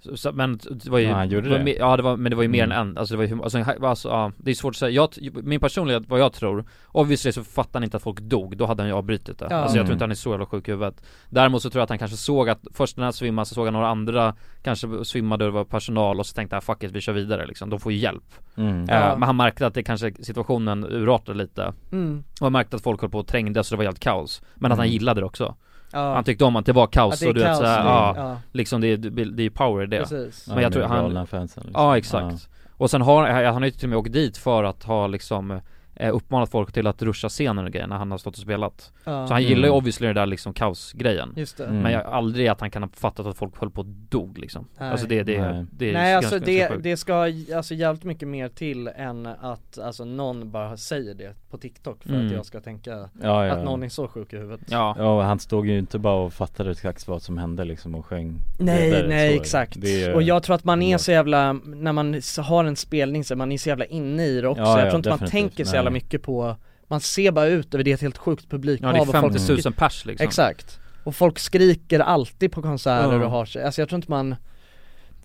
S4: så, så, men det var ju,
S1: Ja, han gjorde
S4: det var,
S1: det.
S4: mer- Ja det var, men det var ju mer
S1: Mm.
S4: än en, alltså det var ju, hur- alltså, ha- alltså ja, det är svårt att säga, jag, t- min personlighet, vad jag tror Obviously så fattade han inte att folk dog, då hade han ju avbrutit det
S1: Ja.
S4: Alltså jag
S1: Mm.
S4: tror inte han är så jävla sjuk i huvudet Däremot så tror jag att han kanske såg att, först när han svimmade så såg han några andra Kanske svimmade och det var personal och så tänkte han fuck it, vi kör vidare liksom, de får ju hjälp
S1: Mm.
S4: Eh,
S1: Ja.
S4: Men han märkte att det kanske, situationen urartade lite
S2: Mm.
S4: Och han märkte att folk höll på och trängdes och det var helt kaos Men att han
S1: Mm.
S4: gillade det också
S2: Ja.
S4: Han tyckte om att det var
S2: Att
S4: kaos
S2: det är
S4: och du vet
S2: kaos,
S4: såhär,
S2: det är-
S4: ja,
S2: ja.
S4: liksom det är, det är ju power i det
S2: Precis.
S4: Men
S1: Ja,
S4: jag
S1: de
S4: tror
S1: är galna
S4: han
S1: fansen, liksom.
S4: Ja exakt
S1: Ja.
S4: Och sen har, han har ju till och med åkt dit för att ha liksom eh, uppmanat folk till att ruscha scenen och grejer när han har stått och spelat
S1: Ja.
S4: Så han gillar ju
S1: Mm.
S4: obviously det där liksom kaosgrejen
S2: Just det.
S1: Mm.
S4: Men jag, aldrig att han kan ha fattat att folk höll på och dog liksom
S2: Nej.
S4: Alltså det, det,
S1: Nej.
S4: det, är
S2: Nej
S4: ganska-
S2: alltså
S4: ganska
S2: det,
S4: sjukt.
S2: det ska j- alltså jävligt mycket mer till än att alltså någon bara säger det på TikTok för att
S1: Mm.
S2: jag ska tänka
S1: Ja, ja,
S2: att
S1: ja.
S2: någon är så sjuk i huvudet
S1: Ja och han stod ju inte bara och fattade exakt vad som hände liksom och sjöng
S2: Nej
S1: vidare,
S2: nej
S1: så.
S2: exakt,
S1: Det är-
S2: och jag tror att man är så jävla, när man s- har en spelning så man är så jävla inne i det också,
S1: Ja,
S2: jag
S1: ja,
S2: tror inte man
S1: definitivt.
S2: tänker så jävla
S1: Nej.
S2: mycket på Man ser bara ut över det är ett helt sjukt publikhav
S4: Ja, det är
S2: och folk-
S4: 50 000 pers, liksom.
S2: Exakt, och folk skriker alltid på konserter
S4: Ja.
S2: och har sig, alltså jag tror inte man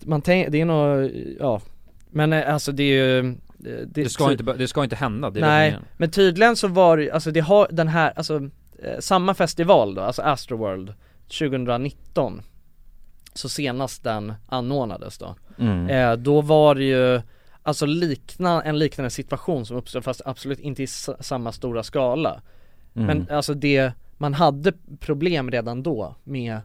S2: Man tänker, det är nog, ja Men eh, alltså det är ju eh,
S4: det ska inte, bör- det ska inte hända, det är det
S2: Nej,
S4: meningen.
S2: men tydligen så var det ju- alltså det har den här, alltså eh, samma festival då, alltså Astroworld 2019 Så senast den anordnades då
S1: Mm.
S2: eh, Då var det ju Alltså likna, en liknande situation som uppstod fast absolut inte i s- samma stora skala
S1: Mm.
S2: Men alltså det, man hade problem redan då med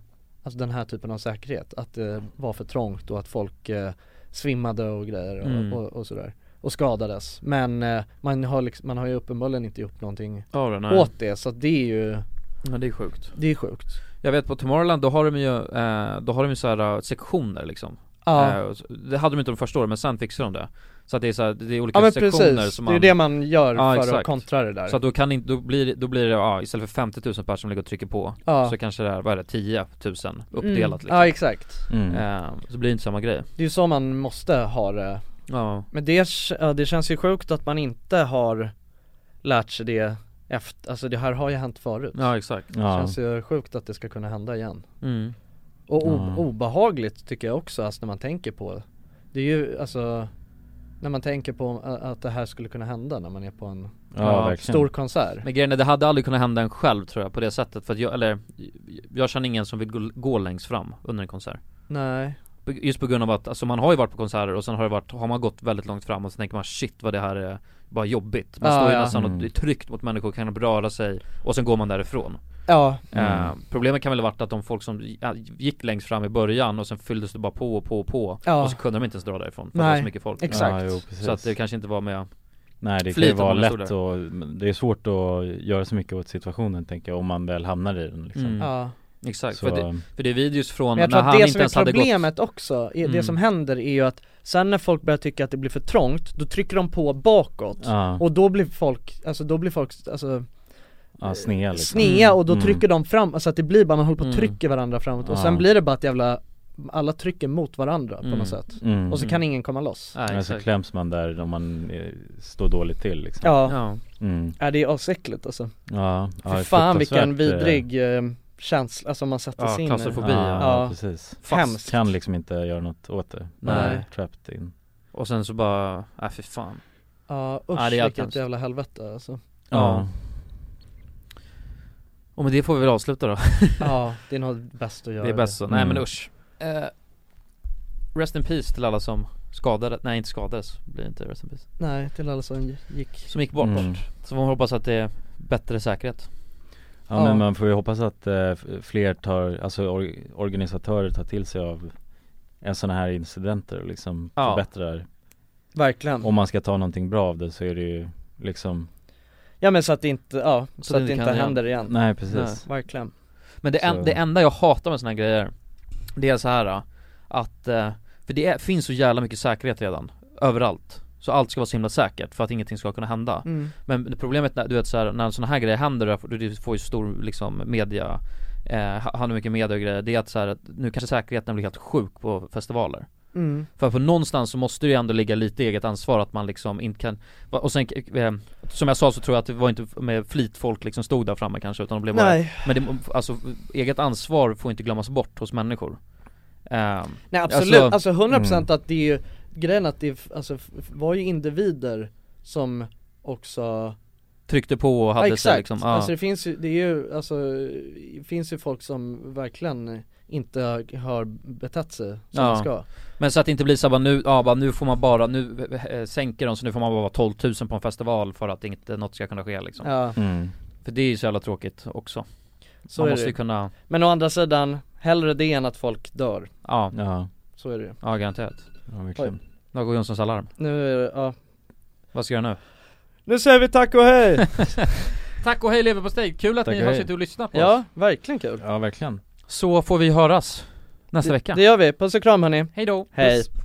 S2: Alltså den här typen av säkerhet, att det var för trångt och att folk eh, svimmade och grejer och,
S4: Mm.
S2: och, och sådär Och skadades, men eh, man, har liksom, man har ju uppenbarligen inte gjort någonting
S4: Ja, då, nej.
S2: åt det så att det är ju
S4: Ja det är sjukt
S2: Det är sjukt
S4: Jag vet på Tomorrowland, då har de ju, eh, då har de ju så här eh, sektioner liksom
S2: Ja.
S4: eh, och så- Det hade de inte de första åren men sen fixade de det Så att det är så här, det är olika
S2: Ja men
S4: sektioner
S2: precis,
S4: som
S2: det är ju det man gör för att kontra det där
S4: Så att då kan inte, då blir, det- då blir det, ja istället för 50 000 personer som ligger och trycker på
S2: Ja.
S4: Så kanske det är, vad är det, 10 000 uppdelat liksom
S2: Ja, exakt.
S1: Mm.
S4: eh, Så blir det inte samma grej
S2: Det är ju så man måste ha det
S4: Ja.
S2: Men det, ja, det känns ju sjukt att man inte har lärt sig det efter, alltså det här har ju hänt förut
S4: Ja, exakt.
S2: Det
S4: Ja.
S2: känns ju sjukt att det ska kunna hända igen
S4: Mm.
S2: Och o-
S4: Ja.
S2: obehagligt tycker jag också, alltså när man tänker på det Det är ju alltså När man tänker på a- att det här skulle kunna hända när man är på en stor konsert
S4: Men grejen är, det hade aldrig kunnat hända en själv tror jag på det sättet för att jag, eller Jag känner ingen som vill gå, gå längst fram under en konsert
S2: Nej.
S4: På- Just på grund av att, alltså man har ju varit på konserter och sen har det varit, har man gått väldigt långt fram och så tänker man shit vad det här är bara jobbigt Man
S2: Ja,
S4: står ju
S2: ja.
S4: nästan och
S2: Mm.
S4: det är tryckt mot människor, kan röra sig och sen går man därifrån
S2: Ja.
S4: Eh,
S2: Mm.
S4: Problemet kan väl ha varit att de folk som gi- ja, gick längst fram i början och sen fylldes det bara på och på och på
S2: Ja.
S4: och så kunde de inte ens dra därifrån för att det var
S2: Nej,
S4: så mycket folk
S2: exakt.
S1: Ja, jo, precis.
S4: Så att det kanske inte var med
S1: Nej det kan ju
S4: flit om
S1: vara
S4: man stod
S1: lätt
S4: där.
S1: och, men det är svårt att göra så mycket åt situationen tänker jag om man väl hamnar i den liksom
S4: Mm.
S2: Ja.
S4: Exakt,
S1: Så,
S4: för det, för det är videos från
S2: Men jag
S4: när
S2: tror att
S4: han
S2: det
S4: inte
S2: som
S4: ens
S2: är
S4: hade gått
S2: problemet också, är det
S4: Mm.
S2: som händer är ju att sen när folk börjar tycka att det blir för trångt, då trycker de på bakåt
S1: Ja.
S2: och då blir folk, alltså då blir folk, alltså
S1: ja, snea liksom.
S2: snea och då
S1: Mm.
S2: trycker de fram, alltså att det blir bara, man håller på och
S1: Mm.
S2: trycker varandra framåt och
S1: Ja.
S2: sen blir det bara ett jävla, alla trycker mot varandra på
S1: Mm.
S2: något sätt
S1: Mm.
S2: och så kan ingen komma loss
S1: Ja, så kläms man där om man eh, står dåligt till liksom
S2: Ja,
S1: Mm.
S2: ja det är asäckligt alltså
S1: Ja, ja,
S2: Fy
S1: det är
S2: fan vilken
S1: fruktansvärt, eh,
S2: vidrig eh, känsla, alltså man sätter
S4: Ja,
S2: sig in i-
S4: klaustrofobi,
S1: ja,
S2: ja,
S1: precis
S2: Hemskt
S1: Kan liksom inte göra något åt det
S4: Nej.
S1: Trapped in
S4: Och sen så bara, nej fy fan
S2: Ja usch
S4: Ja, det är allt
S2: vilket
S4: hemskt.
S2: jävla helvete alltså
S1: Ja.
S4: Och med det får vi väl avsluta då
S2: Ja, det är nog bäst att göra
S4: Det är bäst så,
S2: det.
S4: nej
S2: Mm.
S4: men usch Eh, Rest in peace till alla som skadades, nej inte skadades blir det inte rest in peace
S2: Nej, till alla som gick
S4: Som gick bort
S1: Mm.
S4: Så man hoppas att det är bättre säkerhet
S1: Ja, men man får ju hoppas att eh, f- fler tar, alltså or- organisatörer tar till sig av en sån här incidenter och liksom
S2: Ja.
S1: förbättrar
S2: Verkligen.
S1: Om man ska ta någonting bra av det så är det ju liksom
S2: Ja men så att det inte, ja, så,
S4: Så
S2: att
S4: det
S2: det
S4: inte
S2: inte
S4: kan
S2: händer igen
S1: Nej, precis.
S2: Nej. Verkligen
S4: Men det, en,
S2: Så-
S4: det enda jag hatar med såna här grejer Det är så här då, att, eh, för det är, finns så jävla mycket säkerhet redan Överallt Så allt ska vara så himla säkert för att ingenting ska kunna hända
S2: Mm.
S4: Men det problemet när, du vet så här, när såna här grejer händer, då får- du får ju stor liksom media eh, ha- hand om mycket media och grejer, det är att så här, att nu kanske säkerheten blir helt sjuk på festivaler
S2: Mm.
S4: För på någonstans så måste det ju ändå ligga lite eget ansvar att man liksom inte kan va- Och sen, eh, som jag sa så tror jag att det var inte med flit folk liksom stod där framme kanske utan de blev
S2: Nej.
S4: bara Men det, alltså, eget ansvar får inte glömmas bort hos människor Ehm,
S2: Nej absolut, alltså, 100% att det är ju Grejen att det f- alltså, f- var ju individer som också
S4: Tryckte på och
S2: Ja,
S4: hade sig
S2: exakt.
S4: liksom, ja.
S2: alltså det finns ju, det är ju, alltså det finns ju folk som verkligen inte har betett sig som
S4: Ja.
S2: de ska
S4: Men så att det inte blir så här, bara nu, ja bara nu får man bara, nu eh, sänker de så nu får man bara vara 12 000 på en festival för att inte något ska kunna ske liksom
S2: Ja. Mm.
S4: För det är ju så jävla tråkigt också
S2: Så
S4: Man
S2: är
S4: måste
S2: det.
S4: ju kunna,
S2: Men å andra sidan, hellre det än att folk dör
S4: ja
S1: Ja
S2: Så är det ju
S4: Ja garanterat
S1: Ja
S2: verkligen. Oj.
S4: Då går Jonssons alarm
S2: Nu är det, ja
S4: Vad ska jag göra nu?
S2: Nu säger vi tack och hej!
S4: Tack och hej leverpastej, kul att
S2: Tack
S4: ni
S2: och
S4: har
S2: hej.
S4: suttit och lyssnat på
S2: Ja,
S4: oss
S2: verkligen kul
S1: Ja verkligen
S4: Så får vi höras nästa
S2: Det-
S4: vecka
S2: Det gör vi, puss och kram hörni
S4: Hej då.
S2: Hej
S4: Puss.